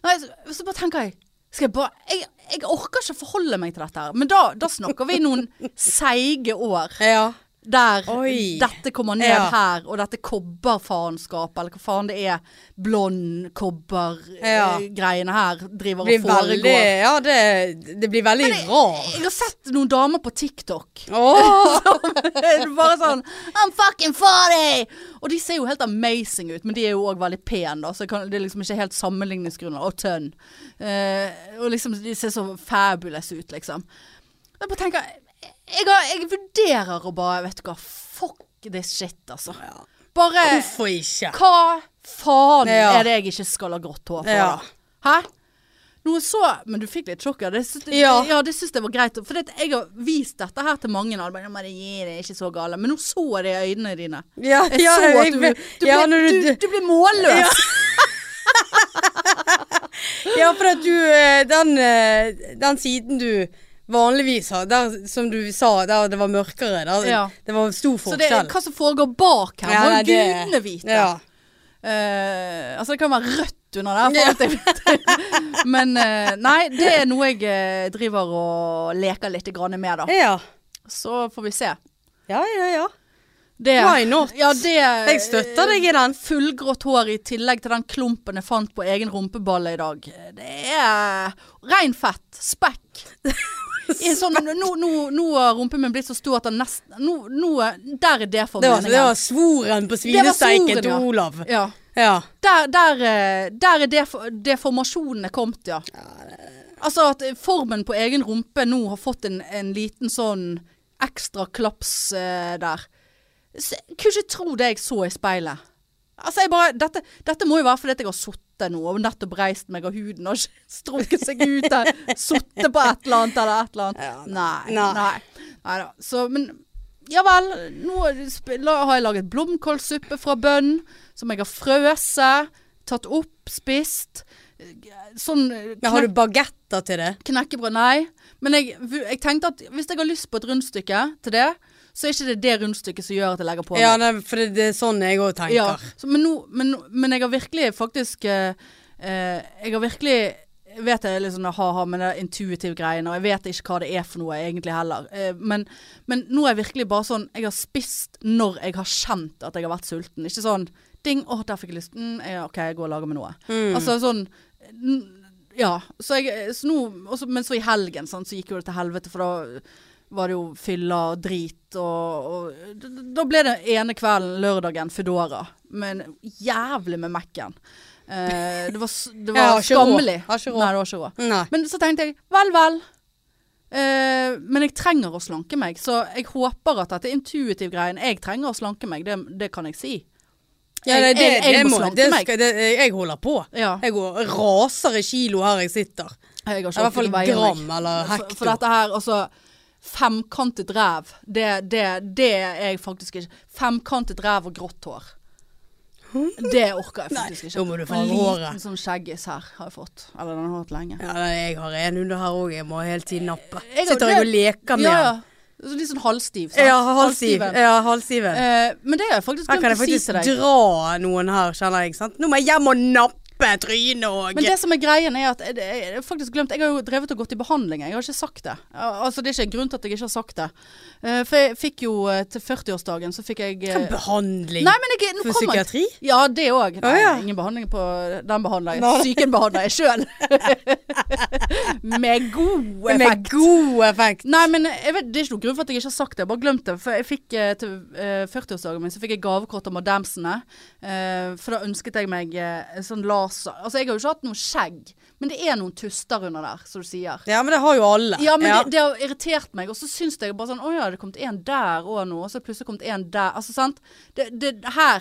Speaker 1: Nei, så, så bare tenker jeg skal jeg, bare, jeg, jeg orker ikke forholde meg til dette her. Men da, da snakker vi noen seige år
Speaker 2: Ja.
Speaker 1: der
Speaker 2: Oi.
Speaker 1: dette kommer ned
Speaker 2: Ja.
Speaker 1: her, og dette kobberfaenskapet, eller hva faen det er, blond
Speaker 2: Ja.
Speaker 1: kobber-greiene her, driver
Speaker 2: blir
Speaker 1: og foregår.
Speaker 2: veldig, ja, det, det blir veldig rart.
Speaker 1: Jeg har sett noen damer på TikTok.
Speaker 2: Åh!
Speaker 1: Du bare sånn I'm fucking 40! Og de ser jo helt amazing ut, men de er jo òg veldig pene, da. Så jeg kan, det er liksom ikke helt sammenligningsgrunnlag. Og tønn. Eh, og liksom, de ser så fabulous ut, liksom. Jeg bare tenker jeg, har, jeg vurderer å bare Vet du hva, fuck this shit, altså. Bare
Speaker 2: Hvorfor ikke?
Speaker 1: Hva faen
Speaker 2: Ja.
Speaker 1: er det jeg ikke skal ha grått hår for?
Speaker 2: Ja.
Speaker 1: da? Hæ? Noe så Men du fikk litt sjokk, ja. Det, syns-
Speaker 2: Ja.
Speaker 1: ja, det syns jeg var greit. For det, jeg har vist dette her til mange. Og de bare, «Ja, men det gir det ikke så gale. Men nå så jeg det i øynene dine.
Speaker 2: Ja,
Speaker 1: Jeg
Speaker 2: ja,
Speaker 1: så at
Speaker 2: jeg
Speaker 1: du,
Speaker 2: ble-
Speaker 1: du,
Speaker 2: ja,
Speaker 1: ble,
Speaker 2: når
Speaker 1: du,
Speaker 2: du-
Speaker 1: du ble målløs.
Speaker 2: Ja. Ja, for at du eh, Den, eh, den siden du vanligvis har, der som du sa, der det var mørkere, der
Speaker 1: Ja.
Speaker 2: det var stor
Speaker 1: Så det,
Speaker 2: forskjell.
Speaker 1: hva som foregår bak her, må
Speaker 2: nei,
Speaker 1: jo
Speaker 2: det-
Speaker 1: gudene vite.
Speaker 2: Ja.
Speaker 1: Eh, altså det kan være rødt under der, for alt jeg vet. Men eh, nei, det er noe jeg eh, driver og leker litt grann med, da.
Speaker 2: ja.
Speaker 1: Så får vi se.
Speaker 2: Ja, ja, ja.
Speaker 1: Det,
Speaker 2: Why not?
Speaker 1: Ja, det,
Speaker 2: Jeg støtter deg i den.
Speaker 1: Fullgrått hår i tillegg til den klumpen jeg fant på egen rumpeballe i dag. Det er rein fett. Spekk. I en sånn, nå, nå, nå har rumpen min blitt så stor at den nesten nå, nå, Der er det for
Speaker 2: Det var, det
Speaker 1: meningen.
Speaker 2: var svoren på
Speaker 1: var svoren,
Speaker 2: svinesteiken til
Speaker 1: ja.
Speaker 2: Olav.
Speaker 1: ja.
Speaker 2: Ja.
Speaker 1: der, der, eh, der er det, for- det formasjonen er kommet, ja. Altså at formen på egen rumpe nå har fått en, en liten sånn ekstra klaps eh, der. Så, jeg kunne ikke tro det jeg så i speilet. Altså jeg bare, dette, dette må jo være fordi at jeg har sittet nå og nettopp reist meg av huden og strukket seg ut der. Sittet på et eller annet eller et eller annet.
Speaker 2: Ja,
Speaker 1: nei.
Speaker 2: nei.
Speaker 1: Nei. nei. da. Så, men ja vel. Nå er det sp- la- har jeg laget blomkålsuppe fra bønn som jeg har frøset, tatt opp, spist. Sånn
Speaker 2: Men har du bagetter til det?
Speaker 1: Knekkebrød, nei. Men jeg, jeg tenkte at hvis jeg har lyst på et rundstykke til det, så er ikke det det rundstykket som gjør at jeg legger på
Speaker 2: Ja, nei, for det, det er sånn jeg òg tenker.
Speaker 1: Ja, så, men, nå- men, men jeg har virkelig faktisk eh, eh, Jeg har virkelig jeg vet det er litt sånn ha-ha med det intuitive greiene, og jeg vet ikke hva det er for noe egentlig heller. Eh, men, men nå er jeg virkelig bare sånn Jeg har spist når jeg har kjent at jeg har vært sulten. Ikke sånn ding, å, der fikk jeg lyst. Mm, ja, OK, jeg går og lager meg noe.
Speaker 2: Mm.
Speaker 1: Altså sånn n- Ja. Så jeg, så nå, og så- men så i helgen sant, så gikk jo det til helvete, for da var det jo fylla og drit og, og d- Da ble det ene kvelden, lørdagen, Foodora. Men jævlig med Mac-en. Eh, det var, s- det
Speaker 2: Jeg
Speaker 1: var
Speaker 2: har ikke råd.
Speaker 1: skammelig.
Speaker 2: Har ikke råd.
Speaker 1: Nei, det var ikke råd.
Speaker 2: Nei.
Speaker 1: Men så tenkte jeg, vel, vel. Eh, men jeg trenger å slanke meg, så jeg håper at dette intuitive greien Jeg trenger å slanke meg, det, det kan jeg si.
Speaker 2: Ja,
Speaker 1: Jeg-
Speaker 2: det, det,
Speaker 1: jeg- jeg
Speaker 2: det
Speaker 1: må
Speaker 2: må-
Speaker 1: slanke
Speaker 2: det
Speaker 1: meg.
Speaker 2: skal- det- Jeg holder på.
Speaker 1: Ja.
Speaker 2: Jeg går, raser i kilo her jeg sitter.
Speaker 1: Jeg har
Speaker 2: I hvert fall
Speaker 1: orket å veie meg.
Speaker 2: gram eller
Speaker 1: For,
Speaker 2: hekto.
Speaker 1: for dette her, altså Femkantet ræv, det, det, det er jeg faktisk ikke. Femkantet ræv og grått hår. Det orker jeg faktisk ikke.
Speaker 2: da må du
Speaker 1: Og
Speaker 2: få
Speaker 1: en
Speaker 2: håret.
Speaker 1: Liten sånn skjeggis her har jeg fått. Eller den har jeg hatt lenge.
Speaker 2: Ja, nei, jeg har en under her òg, jeg må hele tiden nappe.
Speaker 1: Jeg har-
Speaker 2: Sitter jeg og leker med
Speaker 1: Ja, ja.
Speaker 2: den.
Speaker 1: Så Litt sånn halvstiv. sant?
Speaker 2: Ja, halvstiv.
Speaker 1: Halvstiven.
Speaker 2: Ja, halvstiven.
Speaker 1: Eh, men det har jeg faktisk
Speaker 2: Her kan
Speaker 1: glemt
Speaker 2: jeg
Speaker 1: å si
Speaker 2: faktisk
Speaker 1: til deg.
Speaker 2: dra noen her, kjenner jeg. Sant? Nå må jeg hjem og nappe! klippe trynet og
Speaker 1: Men det som er greien er at jeg, jeg, jeg, har faktisk glemt, jeg har jo drevet og gått i behandling. Jeg har ikke sagt det. Al- Altså Det er ikke en grunn til at jeg ikke har sagt det. Eh, For jeg fikk jo eh, til 40-årsdagen så fikk jeg eh,
Speaker 2: Hva behandling?
Speaker 1: Nei, men jeg, nå
Speaker 2: For
Speaker 1: kommer jeg-
Speaker 2: psykiatri?
Speaker 1: Ja, det òg. Nei,
Speaker 2: Å, ja.
Speaker 1: Ingen behandling på den behandler jeg.
Speaker 2: Nei.
Speaker 1: Psyken behandler jeg sjøl. Med god effekt.
Speaker 2: Med god effekt.
Speaker 1: Nei, men jeg vet, det er ikke noen grunn for at jeg ikke har sagt det. Jeg bare glemte det. For jeg fikk eh, til eh, 40-årsdagen min så fikk jeg gavekort av madamsene. Eh, for da ønsket jeg meg eh, en sånn laser Altså, jeg har jo ikke hatt noe skjegg, men det er noen tuster under der, som du sier.
Speaker 2: Ja, men det har jo alle.
Speaker 1: Ja, men Det, det har irritert meg. Og så syns jeg bare sånn Å ja, det er kommet en der òg nå, og så er det plutselig kommet en der. Altså, sant. Det, det, her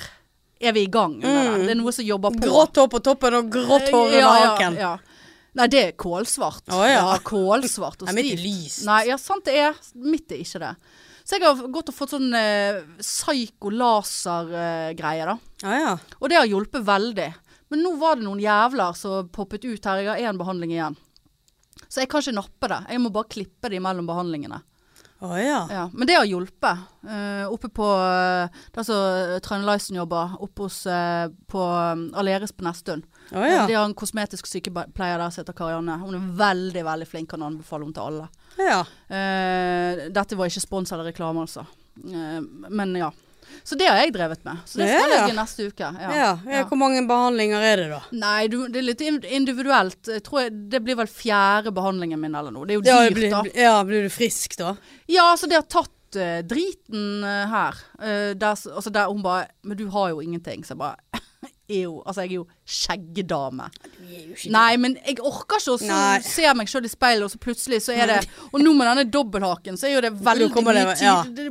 Speaker 1: er vi i gang. Under det. det er noe som jobber på.
Speaker 2: Mm. Grått hår på toppen og grått hår under haken.
Speaker 1: Ja, ja. Nei, det er kålsvart.
Speaker 2: Å, ja.
Speaker 1: kålsvart og
Speaker 2: Nei, mitt er
Speaker 1: stivt.
Speaker 2: lyst.
Speaker 1: Nei, ja, sant det er. Mitt er ikke det. Så jeg har gått og fått sånn eh, psyko-laser-greie, da.
Speaker 2: Ja, ja.
Speaker 1: Og det har hjulpet veldig. Men nå var det noen jævler som poppet ut her. Jeg har én behandling igjen. Så jeg kan ikke nappe det. Jeg må bare klippe det imellom behandlingene.
Speaker 2: Å ja.
Speaker 1: Ja, men det har hjulpet. Eh, oppe på eh, der som Trønne Lysen jobber, oppe hos, eh, på um, Aleris på Nesttun.
Speaker 2: Å ja.
Speaker 1: De har en kosmetisk sykepleier der som heter Karianne. Hun er veldig veldig flink, kan anbefale hun til alle.
Speaker 2: ja.
Speaker 1: Eh, dette var ikke spons eller reklame, altså. Eh, men ja. Så det har jeg drevet med. Så det skal
Speaker 2: Ja.
Speaker 1: jeg i neste uke. Ja.
Speaker 2: ja. ja. Hvor mange behandlinger er det, da?
Speaker 1: Nei, du, det er litt ind- individuelt. Jeg tror jeg, det blir vel fjerde behandlingen min eller noe. Det er jo
Speaker 2: Ja,
Speaker 1: dyrt,
Speaker 2: blir,
Speaker 1: da.
Speaker 2: ja, blir du frisk da?
Speaker 1: Ja, altså det har tatt eh, driten eh, her. Eh, der, s- altså der hun bare Men du har jo ingenting. Så jeg bare Jo. Altså jeg er jo skjeggedame. Nei, men jeg orker ikke å
Speaker 2: Nei.
Speaker 1: så- se meg sjøl i speilet, og så plutselig så er det Og nå med denne dobbelthaken, så er jo det veldig
Speaker 2: kommer
Speaker 1: mye
Speaker 2: det-
Speaker 1: tid.
Speaker 2: ja.
Speaker 1: Det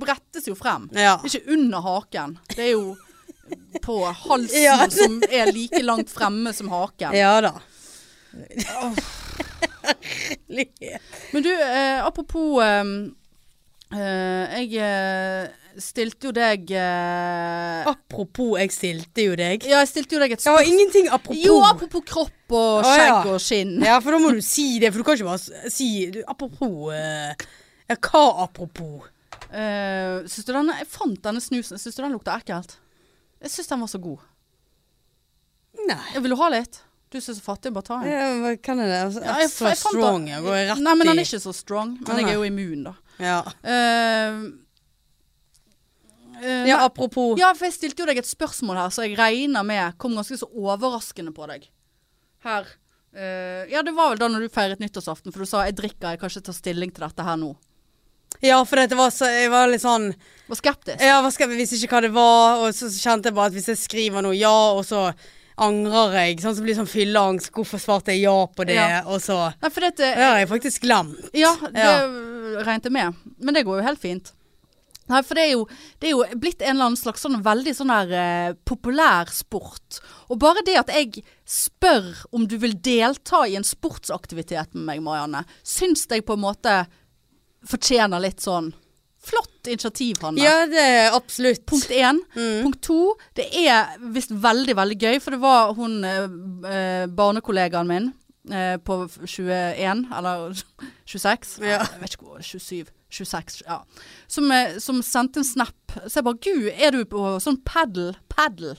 Speaker 1: det brettes jo frem.
Speaker 2: Ja.
Speaker 1: Det er ikke under haken. Det er jo på halsen
Speaker 2: Ja.
Speaker 1: som er like langt fremme som haken.
Speaker 2: Ja da.
Speaker 1: Men du, eh, apropos ehm, eh, Jeg eh, stilte jo deg eh,
Speaker 2: Apropos, jeg stilte jo deg.
Speaker 1: Ja, jeg stilte jo deg et
Speaker 2: Jeg har
Speaker 1: spørsmål.
Speaker 2: ingenting apropos.
Speaker 1: Jo, apropos kropp og
Speaker 2: Å,
Speaker 1: skjegg
Speaker 2: ja.
Speaker 1: og skinn.
Speaker 2: Ja, for da må du si det, for du kan ikke bare s- si du, apropos eh, Ja, hva apropos?
Speaker 1: Eh, syns du denne Jeg fant denne snusen. Syns du den lukta ekkelt? Jeg syns den var så god.
Speaker 2: Nei.
Speaker 1: Jeg vil du ha litt? Du som er så fattig, bare ta en.
Speaker 2: Ja, hva kan jeg det? Altså,
Speaker 1: Ja,
Speaker 2: extra
Speaker 1: jeg fant den-
Speaker 2: strong. Jeg går rett
Speaker 1: Nei, men den
Speaker 2: i
Speaker 1: er ikke så strong. Men
Speaker 2: Nei,
Speaker 1: jeg er jo immun, da.
Speaker 2: ja.
Speaker 1: Eh, eh,
Speaker 2: ja, apropos.
Speaker 1: Ja, for jeg stilte jo deg et spørsmål her, så jeg regner med kom ganske så overraskende på deg. Her. Eh, ja, det var vel da når du feiret nyttårsaften, for du sa 'jeg drikker, jeg kan ikke ta stilling til dette her nå'.
Speaker 2: Ja, for dette var så, jeg var litt sånn
Speaker 1: Var skeptisk.
Speaker 2: Ja, hva skal jeg visste ikke hva det var, og så kjente jeg bare at hvis jeg skriver noe ja, og så angrer jeg, sånn så blir det sånn fylleangst. Hvorfor svarte jeg ja på det?
Speaker 1: Ja.
Speaker 2: Og så
Speaker 1: Nei, for eh, dette
Speaker 2: Det har jeg faktisk glemt.
Speaker 1: Ja, det
Speaker 2: Ja.
Speaker 1: regnet jeg med. Men det går jo helt fint. Nei, for det er jo, det er jo blitt en eller annen slags sånn veldig sånn her eh, populær sport. Og bare det at jeg spør om du vil delta i en sportsaktivitet med meg, Marianne, syns jeg på en måte fortjener litt sånn Flott initiativ, Hanne.
Speaker 2: Ja, det er absolutt.
Speaker 1: Punkt én.
Speaker 2: Mm.
Speaker 1: Punkt to. Det er visst veldig, veldig gøy, for det var hun eh, eh, barnekollegaen min eh, på 21, eller 26,
Speaker 2: Ja.
Speaker 1: jeg vet ikke hvor, 27, 26, ja. Som, eh, som sendte en snap. Så jeg bare, gud, er du på sånn paddle, paddle?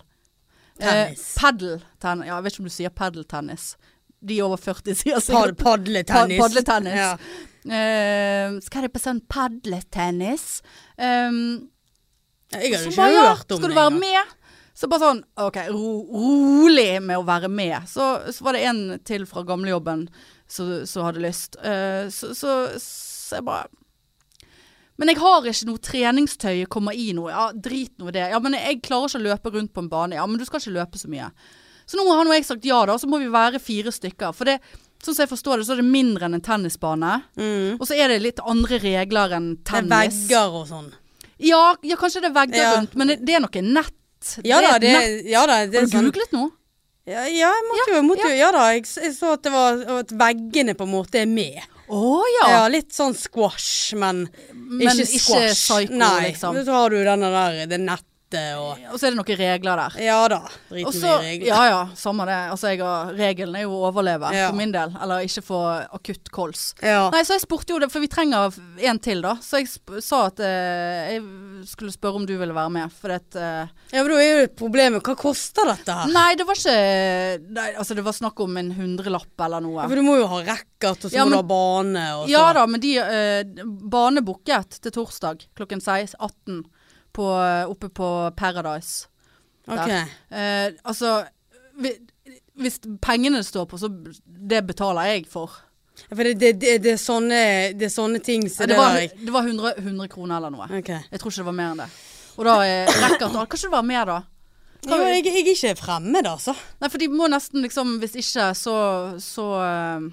Speaker 2: Tennis.
Speaker 1: paddeltennis. Ja, jeg vet ikke om du sier paddeltennis. De over 40 sier
Speaker 2: Pad
Speaker 1: sikkert
Speaker 2: padletennis.
Speaker 1: Pa- padletennis.
Speaker 2: Ja.
Speaker 1: eh, skal det på sånn padletennis? Um,
Speaker 2: Jeg har
Speaker 1: så
Speaker 2: jo ikke
Speaker 1: bare, ja,
Speaker 2: hørt
Speaker 1: skal
Speaker 2: om
Speaker 1: du
Speaker 2: det
Speaker 1: være
Speaker 2: engang.
Speaker 1: med? Så bare sånn, ok, ro, rolig med å være med. Så, så var det en til fra gamlejobben som som hadde lyst. Eh, så, så, så jeg bare Men jeg har ikke noe treningstøy jeg kommer i noe. Ja, drit nå i det. Ja, men jeg klarer ikke å løpe rundt på en bane. Ja, men du skal ikke løpe så mye. Så nå har nå jeg sagt ja, da. Så må vi være fire stykker. For det, sånn som jeg forstår det, så er det mindre enn en tennisbane.
Speaker 2: Mm.
Speaker 1: Og så er det litt andre regler enn
Speaker 2: Det er
Speaker 1: tennis.
Speaker 2: vegger og sånn.
Speaker 1: Ja, ja kanskje det er vegger
Speaker 2: Ja.
Speaker 1: rundt, men det, det er noe nett.
Speaker 2: Ja
Speaker 1: Det er
Speaker 2: da,
Speaker 1: et
Speaker 2: det,
Speaker 1: nett.
Speaker 2: ja, da, det
Speaker 1: Har
Speaker 2: er
Speaker 1: du
Speaker 2: sånn
Speaker 1: googlet noe?
Speaker 2: Ja, ja, jeg måtte jo, jeg måtte jo ja da. Jeg s- jeg så at det var at veggene på en måte er med.
Speaker 1: Å ja.
Speaker 2: Ja, litt sånn squash, men,
Speaker 1: Men
Speaker 2: ikke
Speaker 1: ikke
Speaker 2: squash.
Speaker 1: psycho,
Speaker 2: Nei,
Speaker 1: liksom.
Speaker 2: så har du denne der, det nettet nettet og
Speaker 1: Og så er det noen regler der.
Speaker 2: Ja da.
Speaker 1: Og
Speaker 2: Driten
Speaker 1: så,
Speaker 2: i regler.
Speaker 1: ja ja, samme det. Altså, jeg har, regelen er jo å overleve,
Speaker 2: Ja.
Speaker 1: for min del. Eller ikke få akutt kols.
Speaker 2: Ja.
Speaker 1: Nei, så jeg spurte jo det, for vi trenger en til, da. Så jeg sp sa at eh, jeg skulle spørre om du ville være med, fordi at eh,
Speaker 2: ja, men da er jo problemet Hva koster dette her?
Speaker 1: Nei, det var ikke nei, Altså, det var snakk om en hundrelapp eller noe.
Speaker 2: Ja, For du må jo ha racket, og så
Speaker 1: Ja,
Speaker 2: må du
Speaker 1: men-
Speaker 2: ha bane og så
Speaker 1: Ja da, men de eh, Bane booket til torsdag klokken 16.18 på, eh, oppe på Paradise.
Speaker 2: Ok.
Speaker 1: Eh, altså vi, Hvis pengene det står på, så b- det betaler jeg for.
Speaker 2: Ja, For det, det, det, det, er sånne, det er sånne ting som
Speaker 1: det,
Speaker 2: det, Mm.
Speaker 1: var,
Speaker 2: der jeg
Speaker 1: det var 100, 100 kroner eller noe.
Speaker 2: Ok.
Speaker 1: Jeg tror ikke det var mer enn det. Og da eh, rekker det Kanskje det var mer, da?
Speaker 2: Jo, jeg, jeg er ikke fremmed, altså.
Speaker 1: Nei, for de må nesten liksom Hvis ikke, så, så eh,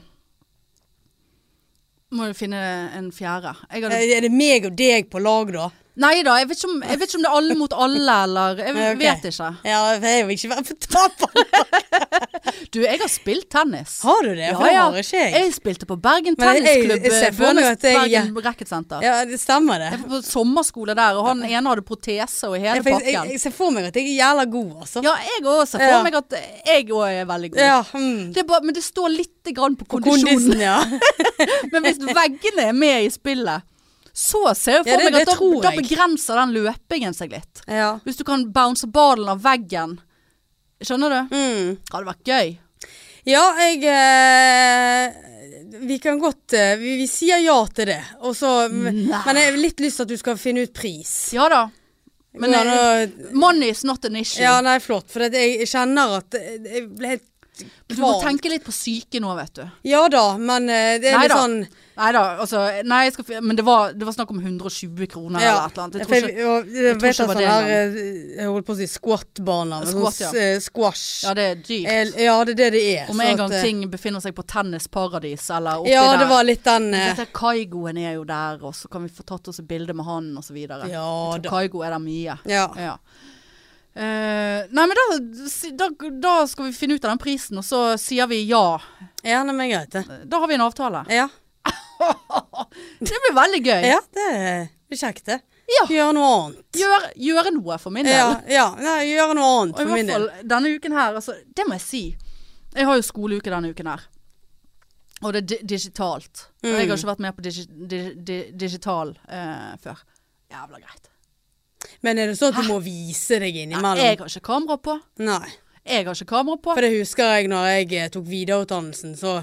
Speaker 1: må du finne en fjerde. Jeg hadde
Speaker 2: Er det meg og deg på lag, da?
Speaker 1: Nei da, jeg vet, ikke om, jeg vet ikke om det er alle mot alle, eller Jeg
Speaker 2: Nei, ok.
Speaker 1: vet ikke.
Speaker 2: Ja, for jeg vil ikke være på taper.
Speaker 1: Du, jeg har spilt tennis.
Speaker 2: Har du det? For det har ikke jeg.
Speaker 1: Jeg spilte på Bergen
Speaker 2: Men jeg-
Speaker 1: Tennisklubb.
Speaker 2: jeg ser for meg
Speaker 1: Bønes-
Speaker 2: at jeg-
Speaker 1: Bergen Racketsenter.
Speaker 2: Ja, det stemmer det.
Speaker 1: Jeg var på sommerskole der, og han ene hadde protese og i hele
Speaker 2: Jeg, jeg, jeg,
Speaker 1: pakken.
Speaker 2: jeg ser for meg at jeg er jævla god, altså.
Speaker 1: Ja, jeg òg ser for
Speaker 2: Ja.
Speaker 1: meg at jeg òg er veldig god.
Speaker 2: Ja, hmm.
Speaker 1: Det er bare, men det står litt grann på kondisjonen.
Speaker 2: Kondisen, ja.
Speaker 1: Men hvis veggene er med i spillet, så ser jeg for
Speaker 2: Ja, det-
Speaker 1: meg
Speaker 2: det
Speaker 1: at da,
Speaker 2: tror
Speaker 1: da
Speaker 2: jeg.
Speaker 1: begrenser den løpingen seg litt.
Speaker 2: ja.
Speaker 1: Hvis du kan bounce ballen av veggen. Skjønner du?
Speaker 2: Mm.
Speaker 1: Hadde vært gøy.
Speaker 2: Ja, jeg eh, Vi kan godt eh, vi, vi sier ja til det. Og så Men jeg har litt lyst til at du skal finne ut pris.
Speaker 1: Ja da. Men eh,
Speaker 2: Går det an å-
Speaker 1: money is not an issue.
Speaker 2: Ja, nei, flott. For det, jeg kjenner at eh, Jeg ble helt
Speaker 1: du må
Speaker 2: kvalm.
Speaker 1: tenke litt på syke nå, vet du.
Speaker 2: Ja da, men eh, det er
Speaker 1: Nei
Speaker 2: litt
Speaker 1: da.
Speaker 2: sånn
Speaker 1: Nei da, altså nei, jeg skal, fi- Men det var, det var snakk om 120 kroner
Speaker 2: Ja.
Speaker 1: eller et eller annet. Jeg
Speaker 2: For
Speaker 1: tror
Speaker 2: Jeg
Speaker 1: ikke,
Speaker 2: og- jeg
Speaker 1: tror
Speaker 2: vet
Speaker 1: ikke
Speaker 2: at
Speaker 1: det var
Speaker 2: sånn
Speaker 1: det
Speaker 2: her eh, Jeg holdt på å si squat-baner. men
Speaker 1: Squat,
Speaker 2: sånn
Speaker 1: ja.
Speaker 2: s- eh, Squash.
Speaker 1: ja, det er dyrt.
Speaker 2: Eh, Ja, det er det det er.
Speaker 1: Om
Speaker 2: så
Speaker 1: en
Speaker 2: at,
Speaker 1: gang
Speaker 2: eh,
Speaker 1: ting befinner seg på tennisparadis eller oppi
Speaker 2: Ja, det
Speaker 1: der.
Speaker 2: var litt den eh,
Speaker 1: Dette Kaigoen er jo der, og så kan vi få tatt oss et bilde med han og så videre.
Speaker 2: Ja
Speaker 1: Jeg tror
Speaker 2: da.
Speaker 1: Kaigo er der mye.
Speaker 2: Ja.
Speaker 1: Ja. Eh, nei, men da, si- da, da skal vi finne ut av den prisen, og så sier vi ja.
Speaker 2: ja nei, men greit, det.
Speaker 1: Da har vi en avtale.
Speaker 2: Ja.
Speaker 1: Det blir veldig gøy.
Speaker 2: ja, det blir kjekt, det.
Speaker 1: Ja.
Speaker 2: Gjøre noe annet.
Speaker 1: Gjør, gjøre noe for min del.
Speaker 2: Ja, ja nei, gjøre noe annet
Speaker 1: Og i
Speaker 2: for min
Speaker 1: hvert
Speaker 2: del.
Speaker 1: fall denne uken her, altså, det må jeg si. Jeg har jo skoleuke denne uken her. Og det er di digitalt. Og
Speaker 2: Mm.
Speaker 1: jeg har ikke vært med på digi di di digital eh, før. Jævla greit.
Speaker 2: Men er det sånn at du må vise deg innimellom?
Speaker 1: Jeg har ikke kamera på.
Speaker 2: Nei.
Speaker 1: Jeg har ikke kamera på.
Speaker 2: For det husker jeg når jeg eh, tok videreutdannelsen, så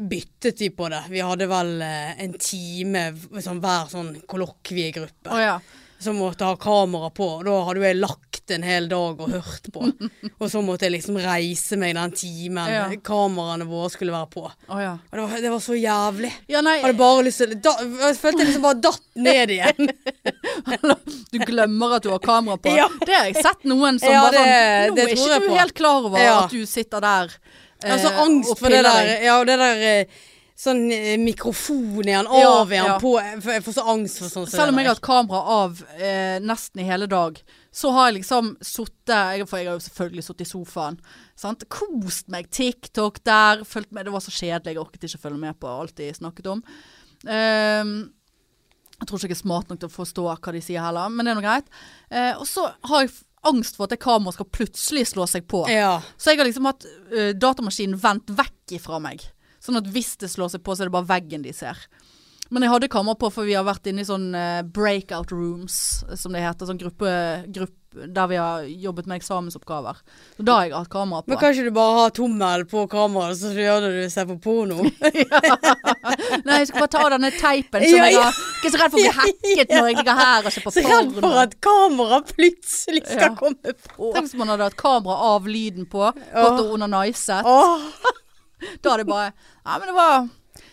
Speaker 2: byttet vi på det. Vi hadde vel eh, en time v- sånn, hver sånn kollokviegruppe
Speaker 1: Å ja.
Speaker 2: som måtte ha kamera på. Og da hadde jo jeg lagt en hel dag og hørt på. og så måtte jeg liksom reise meg den timen
Speaker 1: Ja.
Speaker 2: kameraene våre skulle være på. Og
Speaker 1: Å ja.
Speaker 2: det var, det var så jævlig.
Speaker 1: Ja, nei,
Speaker 2: Jeg hadde bare lyst til da, Jeg følte jeg liksom bare datt ned igjen.
Speaker 1: du glemmer at du har kamera på.
Speaker 2: Ja.
Speaker 1: Det har jeg sett noen som
Speaker 2: Ja,
Speaker 1: bare
Speaker 2: det-
Speaker 1: sånn Nå
Speaker 2: det
Speaker 1: er
Speaker 2: tror
Speaker 1: ikke
Speaker 2: jeg
Speaker 1: du
Speaker 2: på."
Speaker 1: helt klar over
Speaker 2: Ja.
Speaker 1: at du sitter der eh,
Speaker 2: Altså
Speaker 1: og
Speaker 2: angst for det
Speaker 1: piller
Speaker 2: der,
Speaker 1: deg."
Speaker 2: ja, og det der eh, Sånn eh, mikrofon i han,
Speaker 1: Ja,
Speaker 2: av i han,
Speaker 1: ja.
Speaker 2: på jeg får- Jeg får så angst for sånn som
Speaker 1: Selv om
Speaker 2: det
Speaker 1: jeg har hatt
Speaker 2: der.
Speaker 1: kamera av eh, nesten i hele dag, så har jeg liksom sittet jeg- For jeg har jo selvfølgelig sittet i sofaen. Sant? Kost meg. TikTok der. Følt med, det var så kjedelig. Jeg orket ikke følge med på alt de snakket om. Ehm, jeg tror ikke jeg er smart nok til å forstå hva de sier heller, men det er nå greit. Eh, og så har jeg f- angst for at det kameraet skal plutselig slå seg på.
Speaker 2: Ja.
Speaker 1: Så jeg har liksom hatt eh, datamaskinen vendt vekk ifra meg. Sånn at hvis det slår seg på, så er det bare veggen de ser. Men jeg hadde kamera på, for vi har vært inne i sånn eh, breakout rooms, som det heter. Sånn gruppe, grupp- der vi har jobbet med eksamensoppgaver. Så da har jeg hatt kamera på.
Speaker 2: Men kan ikke du bare ha tommel på kameraet, så gjør det du ser på porno?
Speaker 1: Nei, jeg skal bare ta av denne teipen som
Speaker 2: Ja,
Speaker 1: jeg
Speaker 2: ja.
Speaker 1: har. Jeg er så redd for å bli hacket når jeg ligger her og ser på
Speaker 2: Så redd
Speaker 1: porno.
Speaker 2: for at kameraet plutselig skal
Speaker 1: Ja.
Speaker 2: komme på.
Speaker 1: Tenk hvis man hadde hatt kamera av lyden på, gått og onaniset.
Speaker 2: Åh,
Speaker 1: Da er det bare Ja, men det var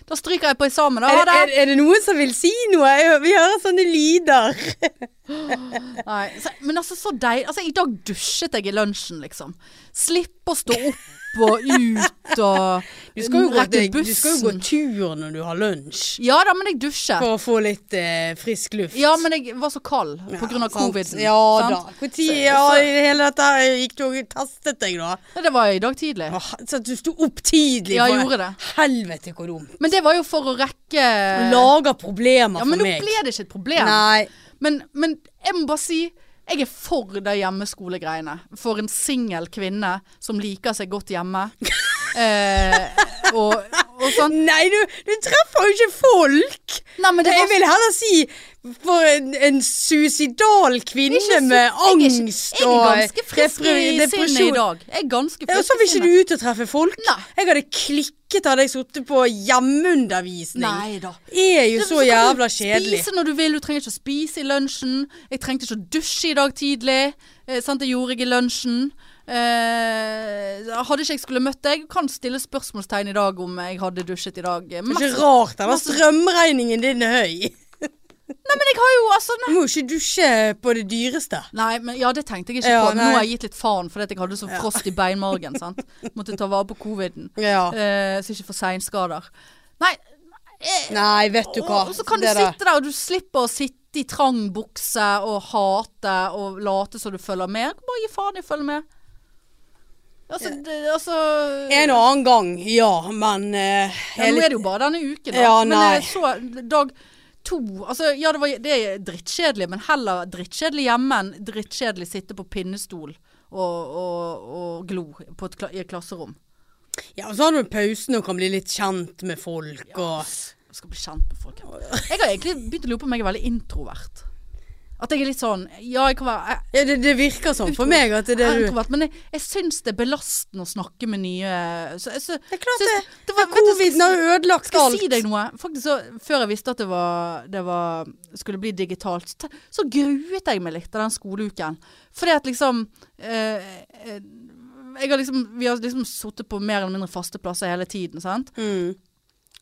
Speaker 1: Da stryker jeg på eksamen, da.
Speaker 2: er,
Speaker 1: Ha
Speaker 2: det,
Speaker 1: det!
Speaker 2: er, er det noen som vil si noe? Jeg, hø- vi hører sånne lyder.
Speaker 1: Nei, så, men altså så deilig altså, I dag dusjet jeg i lunsjen liksom Slipp å stå opp og ut og
Speaker 2: Du skal jo gå,
Speaker 1: rett i
Speaker 2: du skal jo gå
Speaker 1: bussen.
Speaker 2: tur når du har lunsj,
Speaker 1: Ja da, men jeg dusjet
Speaker 2: for å få litt eh, frisk luft.
Speaker 1: Ja, men jeg var så kald på grunn av
Speaker 2: sant.
Speaker 1: covid
Speaker 2: Ja da. Hvor tid ja, hele dette her gikk du og testet deg, da?
Speaker 1: Det var i dag tidlig
Speaker 2: Åh, Så at du sto opp tidlig?
Speaker 1: Ja,
Speaker 2: for-
Speaker 1: jeg gjorde det.
Speaker 2: Helvete, hvor dumt.
Speaker 1: Men det var jo for å rekke
Speaker 2: Lager problemer
Speaker 1: Ja,
Speaker 2: for
Speaker 1: men nå
Speaker 2: meg.
Speaker 1: ble det ikke et problem
Speaker 2: Nei.
Speaker 1: men, men jeg må bare si Jeg er for de hjemmeskolegreiene. For en singel kvinne som liker seg godt hjemme. eh, og, og sånn.
Speaker 2: Nei, du, du treffer jo ikke folk!
Speaker 1: Nei, men det
Speaker 2: jeg
Speaker 1: var
Speaker 2: vil heller si for en, en suicidal kvinne
Speaker 1: ikke så-
Speaker 2: med
Speaker 1: jeg er ikke-
Speaker 2: angst og
Speaker 1: Jeg er ganske frisk
Speaker 2: depre-
Speaker 1: i sinnet i
Speaker 2: depresjon.
Speaker 1: dag. Jeg er ganske
Speaker 2: Ja, og
Speaker 1: frisk i
Speaker 2: så vil ikke
Speaker 1: sinnet.
Speaker 2: du ut og treffe folk.
Speaker 1: Nei.
Speaker 2: Jeg hadde klikket hadde jeg sittet på hjemmeundervisning.
Speaker 1: Nei da.
Speaker 2: Det er jo
Speaker 1: Det-
Speaker 2: så
Speaker 1: kan du
Speaker 2: jævla kjedelig.
Speaker 1: Spise når du vil, du trenger ikke å spise i lunsjen. Jeg trengte ikke å dusje i dag tidlig. Eh, sant, det gjorde jeg i lunsjen. Eh, hadde ikke jeg skulle møtt deg, kan stille spørsmålstegn i dag om jeg hadde dusjet i dag. Eh,
Speaker 2: Det er
Speaker 1: masse-
Speaker 2: ikke rart denne strømregningen din er høy.
Speaker 1: Nei, men jeg har jo altså
Speaker 2: Du må jo ikke dusje på det dyreste.
Speaker 1: Nei, men ja, det tenkte jeg ikke
Speaker 2: Ja,
Speaker 1: på. Nå har
Speaker 2: nei.
Speaker 1: jeg gitt litt faen fordi at jeg hadde så frost i beinmargen. sant? Måtte ta vare på coviden.
Speaker 2: Ja.
Speaker 1: Eh, så ikke for seinskader. Nei,
Speaker 2: Nei, vet du hva.
Speaker 1: Og så kan du
Speaker 2: Det der.
Speaker 1: sitte der, og du slipper å sitte i trang bukse og hate og late som du følger med. Bare gi faen i å følge med. Altså,
Speaker 2: Eh,
Speaker 1: det, altså
Speaker 2: En og annen gang, ja, men eh,
Speaker 1: ja, Nå
Speaker 2: hele-
Speaker 1: er det jo bare denne uken, da.
Speaker 2: Ja,
Speaker 1: Men
Speaker 2: nei.
Speaker 1: eh, så dag to Altså, ja, det, var, det er drittkjedelig, men heller drittkjedelig hjemme enn drittkjedelig sitte på pinnestol og, og, og glo på et, kla- i et klasserom.
Speaker 2: Ja, og så har du pausen og kan bli litt kjent med folk og
Speaker 1: Jeg skal bli kjent med folk. Jeg har egentlig begynt å lure på om jeg er veldig introvert. At jeg er litt sånn Ja, jeg kan være jeg,
Speaker 2: ja, det, det virker sånn for meg at det
Speaker 1: jeg
Speaker 2: er
Speaker 1: er
Speaker 2: det du
Speaker 1: introvert, men jeg, jeg syns det er belastende å snakke med nye så, jeg, så,
Speaker 2: Det er klart
Speaker 1: syns-
Speaker 2: det.
Speaker 1: det var, vet du,
Speaker 2: Coviden har jo ødelagt
Speaker 1: skal jeg
Speaker 2: alt.
Speaker 1: si deg noe? Faktisk så, Før jeg visste at det, var, det var, skulle bli digitalt, så te- så gruet jeg meg litt av den skoleuken. Fordi at liksom eh, eh, jeg har liksom, Vi har liksom sittet på mer eller mindre faste plasser hele tiden. sant?
Speaker 2: Mm.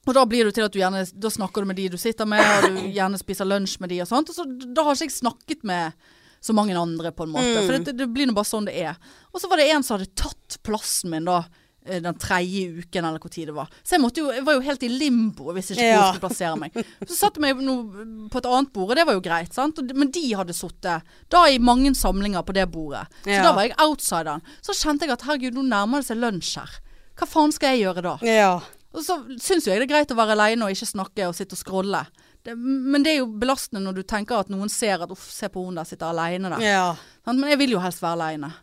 Speaker 1: Og da blir det til at du gjerne Da snakker du med de du sitter med, og du gjerne spiser lunsj med de og sånt. Og så, da har ikke jeg snakket med så mange andre, på en måte.
Speaker 2: Mm.
Speaker 1: For det, det blir nå bare sånn det er. Og så var det en som hadde tatt plassen min da. eh, Den tredje uken, eller hvor tid det var. Så jeg, måtte jo, jeg var jo helt i limbo hvis ikke hvor
Speaker 2: Ja.
Speaker 1: jeg skulle plassere meg. Så satte jeg meg nå på et annet bord, og det var jo greit, sant. Og de- Men de hadde sittet da i mange samlinger på det bordet. Så
Speaker 2: Ja.
Speaker 1: da var jeg outsideren. Så kjente jeg at herregud, nå nærmer det seg lunsj her. Hva faen skal jeg gjøre da?
Speaker 2: Ja.
Speaker 1: Og så syns jo jeg det er greit å være aleine og ikke snakke og sitte og scrolle. Det, men det er jo belastende når du tenker at noen ser at uff, se på hun der sitter aleine der.
Speaker 2: ja.
Speaker 1: Sant? Men jeg vil jo helst være aleine.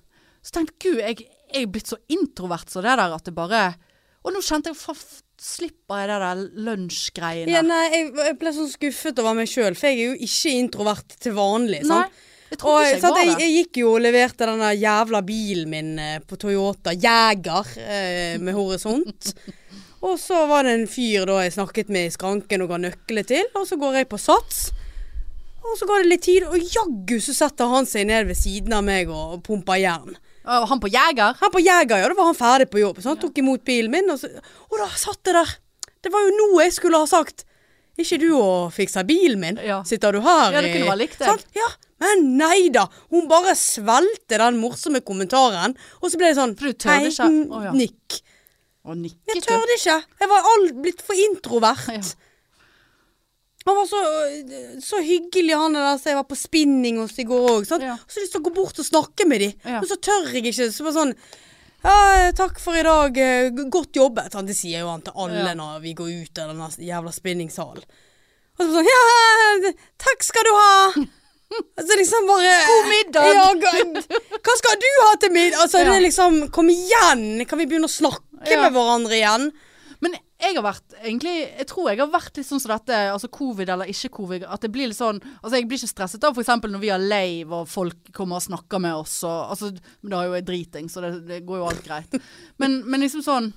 Speaker 1: Så tenkte jeg, gud, jeg, jeg er blitt så introvert så det der at det bare Og nå kjente jeg faff, slipper jeg det der lunsjgreiene.
Speaker 2: Ja, nei, jeg, jeg ble sånn skuffet over meg sjøl, for jeg er jo ikke introvert til vanlig.
Speaker 1: Nei,
Speaker 2: Sant?
Speaker 1: jeg
Speaker 2: Og
Speaker 1: trodde ikke jeg
Speaker 2: sant,
Speaker 1: var
Speaker 2: jeg,
Speaker 1: det.
Speaker 2: jeg gikk jo og leverte denne jævla bilen min eh, på Toyota Jæger eh, med horisont. og så var det en fyr da jeg snakket med i skranken og ga nøkler til, og så går jeg på sats. Og så går det litt tid, og jaggu så setter han seg ned ved siden av meg og pumper jern.
Speaker 1: Og han på Jeger.
Speaker 2: Han på Jæger, ja, da var han ferdig på jobb. Så han tok imot bilen min, og, så, og da satt jeg der. Det var jo nå jeg skulle ha sagt. Ikke du og fikser bilen min?
Speaker 1: Ja.
Speaker 2: Sitter du her?
Speaker 1: Ja, det
Speaker 2: i-
Speaker 1: kunne vært likt, jeg.
Speaker 2: Sant? Ja, men nei da. Hun bare svelgte den morsomme kommentaren, og så ble det sånn
Speaker 1: For du tørde ikke?
Speaker 2: n-
Speaker 1: Å, ja.
Speaker 2: nikk.
Speaker 1: Og
Speaker 2: Jeg
Speaker 1: nikket du.
Speaker 2: tørde ikke. Jeg var all, blitt for introvert.
Speaker 1: Ja.
Speaker 2: Han var så, øh, så hyggelig, han der som jeg var på spinning hos i går òg.
Speaker 1: Ja.
Speaker 2: Så lyst til å gå bort og snakke med dem,
Speaker 1: Ja.
Speaker 2: men så tør jeg ikke. Så bare sånn ja, 'Takk for i dag. eh, g- Godt jobbet.' Sant, Det sier jo han til alle
Speaker 1: Ja.
Speaker 2: når vi går ut av den jævla spinningsalen. Og så bare sånn 'Ja, takk skal du ha'. Altså liksom bare
Speaker 1: God middag.
Speaker 2: Ja, god- hva skal du ha til middag? Altså,
Speaker 1: Ja.
Speaker 2: det er liksom Kom igjen! Kan vi begynne å snakke
Speaker 1: Ja.
Speaker 2: med hverandre igjen?
Speaker 1: Men jeg har vært egentlig Jeg tror jeg har vært litt sånn som dette, altså covid eller ikke covid, at det blir litt sånn Altså jeg blir ikke stresset av f.eks. når vi har lave og folk kommer og snakker med oss og Altså, men da er jo jeg driting, så det, det går jo alt greit. Men, men liksom sånn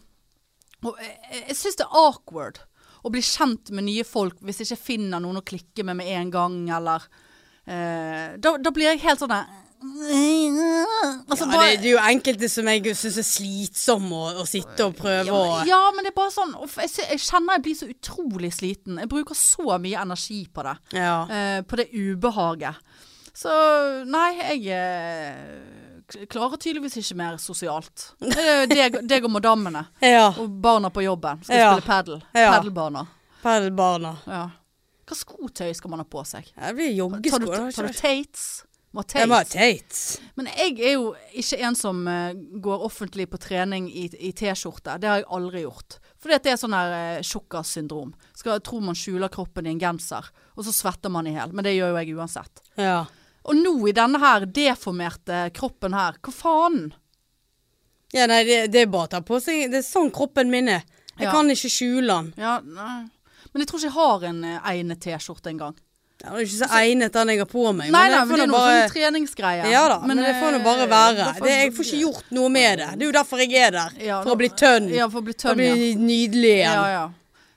Speaker 1: og Jeg, jeg syns det er awkward å bli kjent med nye folk hvis jeg ikke finner noen å klikke med med en gang, eller eh, da, da blir jeg helt sånn der altså,
Speaker 2: ja,
Speaker 1: bare-
Speaker 2: det, det er jo enkelte som jeg syns er slitsom å, å sitte og prøve
Speaker 1: Ja,
Speaker 2: å
Speaker 1: men- ja, men det er bare sånn uff, jeg, sy- jeg kjenner jeg blir så utrolig sliten. Jeg bruker så mye energi på det.
Speaker 2: ja.
Speaker 1: Eh, på det ubehaget. Så nei, jeg eh, k- klarer tydeligvis ikke mer sosialt. Eh, Deg, deg og madammene.
Speaker 2: ja.
Speaker 1: Og barna på jobben. Skal
Speaker 2: Ja.
Speaker 1: spille padel.
Speaker 2: Ja.
Speaker 1: Padelbarna.
Speaker 2: Padelbarna.
Speaker 1: Ja. Hva skotøy skal man ha på seg?
Speaker 2: Ja, Det blir
Speaker 1: Tar du,
Speaker 2: joggesko. det
Speaker 1: tar
Speaker 2: har
Speaker 1: du
Speaker 2: ikke-
Speaker 1: Tates? Må ha
Speaker 2: Jeg må ha
Speaker 1: Tates?
Speaker 2: Tate.
Speaker 1: Men jeg er jo ikke en som eh, går offentlig på trening i, i T-skjorte. Det har jeg aldri gjort. Fordi at det er sånn her uh, tjukkassyndrom. Skal- Tror man skjuler kroppen i en genser, og så svetter man i hjel. Men det gjør jo jeg uansett.
Speaker 2: Ja.
Speaker 1: Og nå i denne her deformerte kroppen her, hva faen?
Speaker 2: Ja, nei, det, det er bare å ta på seg Det er sånn kroppen min er. Jeg
Speaker 1: Ja.
Speaker 2: kan ikke skjule den.
Speaker 1: Ja, nei. Men jeg tror ikke jeg har en eh, egnet T-skjorte engang.
Speaker 2: Den er ikke så egnet, den jeg har på meg.
Speaker 1: Nei, nei,
Speaker 2: det får
Speaker 1: men det er
Speaker 2: nå
Speaker 1: noe
Speaker 2: bare-
Speaker 1: sånn treningsgreie.
Speaker 2: Ja da, men, det får nå bare være.
Speaker 1: eh, da får-
Speaker 2: Det, jeg får ikke gjort noe med det. Det er jo derfor jeg er der.
Speaker 1: Ja,
Speaker 2: for å
Speaker 1: da-
Speaker 2: bli tønn.
Speaker 1: Ja, for å bli
Speaker 2: for å
Speaker 1: tønn, ja.
Speaker 2: bli nydelig igjen.
Speaker 1: ja, ja.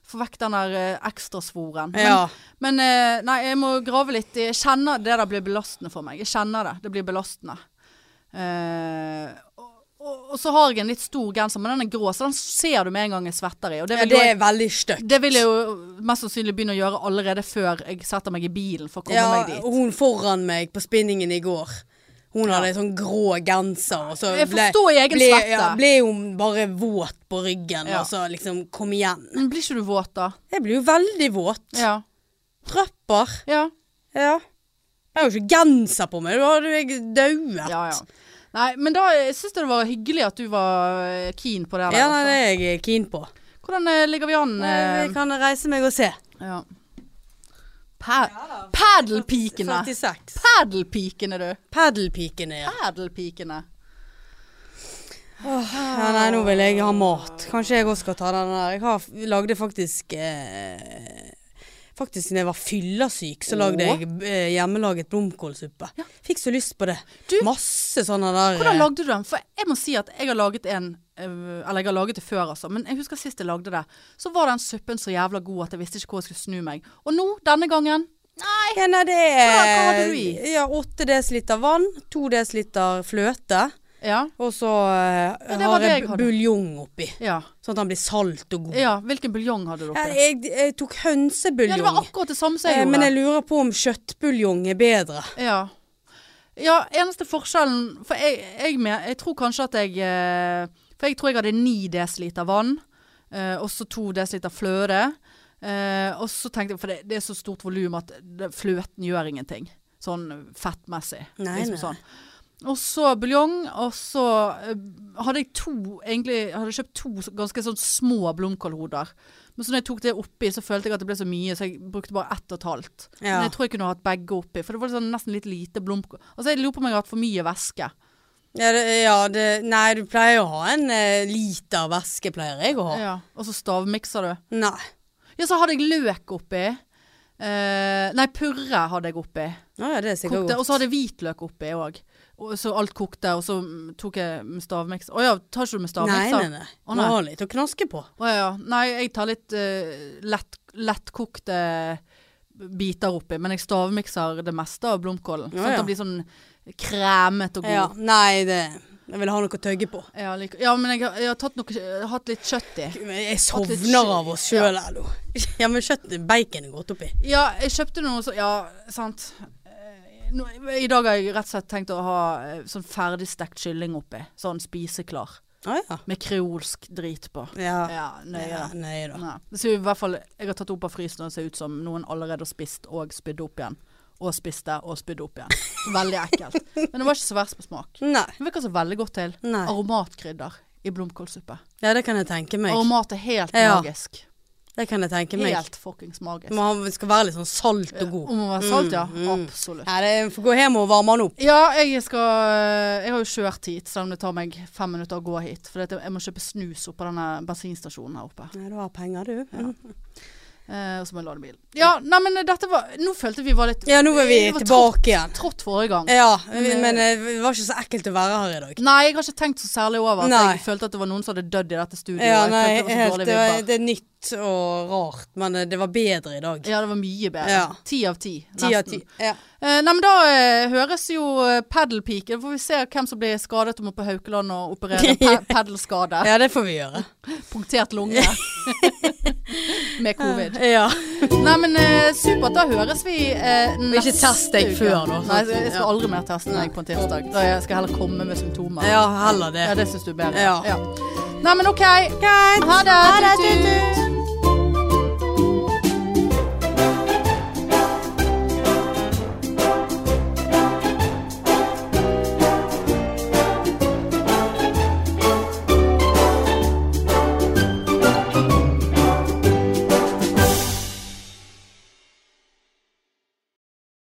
Speaker 1: Få vekk den der eh, ekstrasvoren. Men,
Speaker 2: Ja.
Speaker 1: men eh, nei, jeg må grave litt. i- Jeg kjenner det der blir belastende for meg. Jeg kjenner det. Det blir belastende. Eh, og, og, og så har jeg en litt stor genser, men den er grå, så den ser du med en gang jeg svetter i. Og det
Speaker 2: Ja,
Speaker 1: vil
Speaker 2: det
Speaker 1: jo jeg
Speaker 2: er veldig støkt.
Speaker 1: Det vil jeg jo mest sannsynlig begynne å gjøre allerede før jeg setter meg i bilen for å komme
Speaker 2: Ja, oh.
Speaker 1: meg dit.
Speaker 2: hun foran meg på spinningen i går. Hun hadde en sånn grå genser, og så
Speaker 1: Jeg forstår i egen
Speaker 2: ble,
Speaker 1: svette.
Speaker 2: ja, ble hun bare våt på ryggen,
Speaker 1: Ja.
Speaker 2: og så liksom kom igjen.
Speaker 1: Men blir ikke du våt da?
Speaker 2: Jeg blir jo veldig våt.
Speaker 1: Ja.
Speaker 2: Trøpper.
Speaker 1: Ja.
Speaker 2: Ja. Jeg har jo ikke genser på meg, da hadde jeg dauet.
Speaker 1: ja, ja. Nei, men da syns jeg det var hyggelig at du var eh, keen på det. der,
Speaker 2: Ja, nei, det
Speaker 1: altså.
Speaker 2: er jeg keen på.
Speaker 1: Hvordan eh, ligger vi an?
Speaker 2: Jeg
Speaker 1: eh,
Speaker 2: kan reise meg og se.
Speaker 1: Ja. Pa Padelpikene!
Speaker 2: 46.
Speaker 1: Padelpikene, du.
Speaker 2: Padelpikene, ja.
Speaker 1: Padelpikene.
Speaker 2: ja. Nei, nå vil jeg ha mat. Kanskje jeg også skal ta den der. Jeg har, lagde faktisk eh, Faktisk da jeg var fyllesyk, så lagde
Speaker 1: Åh.
Speaker 2: jeg eh, hjemmelaget blomkålsuppe. Fikk så lyst på det.
Speaker 1: Du-
Speaker 2: Masse sånne der
Speaker 1: Hvordan
Speaker 2: eh,
Speaker 1: lagde du den? For jeg må si at jeg har laget en eh, Eller jeg har laget det før, altså. Men jeg husker sist jeg lagde det. Så var den suppen så jævla god at jeg visste ikke hvor jeg skulle snu meg. Og nå, denne gangen Nei!
Speaker 2: ja, nei, det
Speaker 1: Hva- hva hadde
Speaker 2: er
Speaker 1: du i?
Speaker 2: ja, 8 dl vann, 2 dl fløte,
Speaker 1: Ja.
Speaker 2: og så eh,
Speaker 1: Ja, det var
Speaker 2: har
Speaker 1: det
Speaker 2: jeg
Speaker 1: jeg hadde.
Speaker 2: buljong oppi.
Speaker 1: Ja.
Speaker 2: Sånn at den blir salt og god.
Speaker 1: ja. Hvilken buljong hadde du
Speaker 2: Jeg,
Speaker 1: oppi?
Speaker 2: jeg, jeg tok hønsebuljong.
Speaker 1: Ja, det var akkurat det samme som jeg
Speaker 2: Eh, Men
Speaker 1: gjorde.
Speaker 2: jeg lurer på om kjøttbuljong er bedre.
Speaker 1: Ja. ja, eneste forskjellen For jeg, jeg, med, jeg tror kanskje at jeg eh, For jeg tror jeg hadde 9 dl vann, eh, og så 2 dl fløte. Eh, og så tenkte jeg, for det, det er så stort volum at det, fløten gjør ingenting. Sånn fettmessig.
Speaker 2: Nei, nei.
Speaker 1: Sånn. Og så buljong, og så eh, hadde jeg to Egentlig hadde jeg kjøpt to så- ganske sånn små blomkålhoder. Men så når jeg tok det oppi, så følte jeg at det ble så mye, så jeg brukte bare ett og et halvt.
Speaker 2: Ja.
Speaker 1: Men jeg tror jeg kunne hatt begge oppi, for det var sånn nesten litt lite blomkål. Altså, jeg lurer på om jeg har hatt for mye væske.
Speaker 2: Ja, det, ja det, nei, du pleier å ha en eh, liter væske, pleier jeg å ha.
Speaker 1: Ja. Og så stavmikser du.
Speaker 2: Nei.
Speaker 1: Ja, så hadde jeg løk oppi. Eh, nei, purre hadde jeg oppi.
Speaker 2: Å ja, det er sikkert
Speaker 1: Kokte, og
Speaker 2: godt.
Speaker 1: så hadde jeg hvitløk oppi òg. Og Så alt kokte, og så mm, tok jeg med stavmikser. Å ja, tar ikke du med
Speaker 2: Nei,
Speaker 1: stavmikser?
Speaker 2: nei, nei.
Speaker 1: Å,
Speaker 2: Du
Speaker 1: nei.
Speaker 2: har litt å knaske på.
Speaker 1: Å ja. Nei, jeg tar litt eh, lett, lettkokte biter oppi, men jeg stavmikser det meste av blomkålen.
Speaker 2: Ja,
Speaker 1: Sånn at
Speaker 2: ja.
Speaker 1: den blir sånn kremet og god.
Speaker 2: Ja, nei, det Jeg vil ha noe å tøgge på.
Speaker 1: Ja, lik- ja men jeg, har- jeg, har tatt noe, jeg har hatt litt kjøtt i.
Speaker 2: Men Jeg
Speaker 1: Hatt litt
Speaker 2: sovner
Speaker 1: kjø-
Speaker 2: av oss sjøl, hallo. Ja, men kjøtt, bacon er godt oppi.
Speaker 1: Ja, jeg kjøpte noe så Ja, sant. Eh, Nå, I dag har jeg rett og slett tenkt å ha eh, sånn ferdigstekt kylling oppi. Sånn spiseklar.
Speaker 2: Å ja.
Speaker 1: Med kreolsk drit på.
Speaker 2: Ja,
Speaker 1: Ja,
Speaker 2: ja,
Speaker 1: nøye.
Speaker 2: nøye da.
Speaker 1: Nei. Det ser jo i hvert fall Jeg har tatt opp av frysen og det ser ut som noen allerede har spist og spydde opp igjen. Og spiste og spydde opp igjen. Veldig ekkelt. Men det var ikke så verst på smak.
Speaker 2: Nei.
Speaker 1: Det virker så veldig godt til.
Speaker 2: Nei.
Speaker 1: Aromatkrydder i blomkålsuppe.
Speaker 2: Ja, det kan jeg tenke meg.
Speaker 1: Aromat er helt
Speaker 2: Ja.
Speaker 1: magisk.
Speaker 2: Det kan jeg tenke meg.
Speaker 1: Helt fuckings magisk.
Speaker 2: Man skal være litt sånn salt og god.
Speaker 1: Om å være salt, ja.
Speaker 2: Mm, mm.
Speaker 1: Absolutt.
Speaker 2: Ja, det får gå hjem og varme den opp.
Speaker 1: Ja, jeg skal eh, Jeg har jo kjørt hit, selv om det tar meg fem minutter å gå hit. For jeg må kjøpe snus oppå denne bensinstasjonen her oppe.
Speaker 2: Nei, du har penger, du. Ja.
Speaker 1: Eh, og så må jeg lade bilen. Ja, nei, men dette var Nå følte vi var litt
Speaker 2: Ja, nå er vi
Speaker 1: var
Speaker 2: tilbake igjen.
Speaker 1: trått forrige gang.
Speaker 2: Ja, men eh, det var ikke så ekkelt å være her i dag.
Speaker 1: Nei, jeg har ikke tenkt så særlig over at
Speaker 2: Nei.
Speaker 1: jeg følte at det var noen som hadde dødd i dette studioet.
Speaker 2: Ja,
Speaker 1: Jeg
Speaker 2: nei,
Speaker 1: følte det var så
Speaker 2: helt,
Speaker 1: dårlige
Speaker 2: det, var,
Speaker 1: vibber.
Speaker 2: det er nytt og rart, men eh, det var bedre i dag.
Speaker 1: Ja, det var mye bedre.
Speaker 2: Ja.
Speaker 1: Ti av ti.
Speaker 2: Ti av
Speaker 1: nesten.
Speaker 2: ti. Ja.
Speaker 1: Eh, nei, men da eh, høres jo eh, padelpike. Da får vi se hvem som blir skadet og må på Haukeland og operere pa padelskade.
Speaker 2: ja, det får vi gjøre.
Speaker 1: Punktert lunge. Med covid.
Speaker 2: Ja.
Speaker 1: Nei, men eh, supert. Da høres vi eh, neste
Speaker 2: ikke test deg
Speaker 1: uke.
Speaker 2: før, da. sånn
Speaker 1: Nei, jeg- jeg skal aldri mer teste meg på en tirsdag. Da jeg skal jeg heller komme med symptomer.
Speaker 2: ja, heller det.
Speaker 1: Ja, det syns du er bedre.
Speaker 2: Ja.
Speaker 1: Nei, men OK.
Speaker 2: Greit.
Speaker 1: Ha det.
Speaker 2: Ha det,
Speaker 1: Tut-tut.
Speaker 2: tut-tut.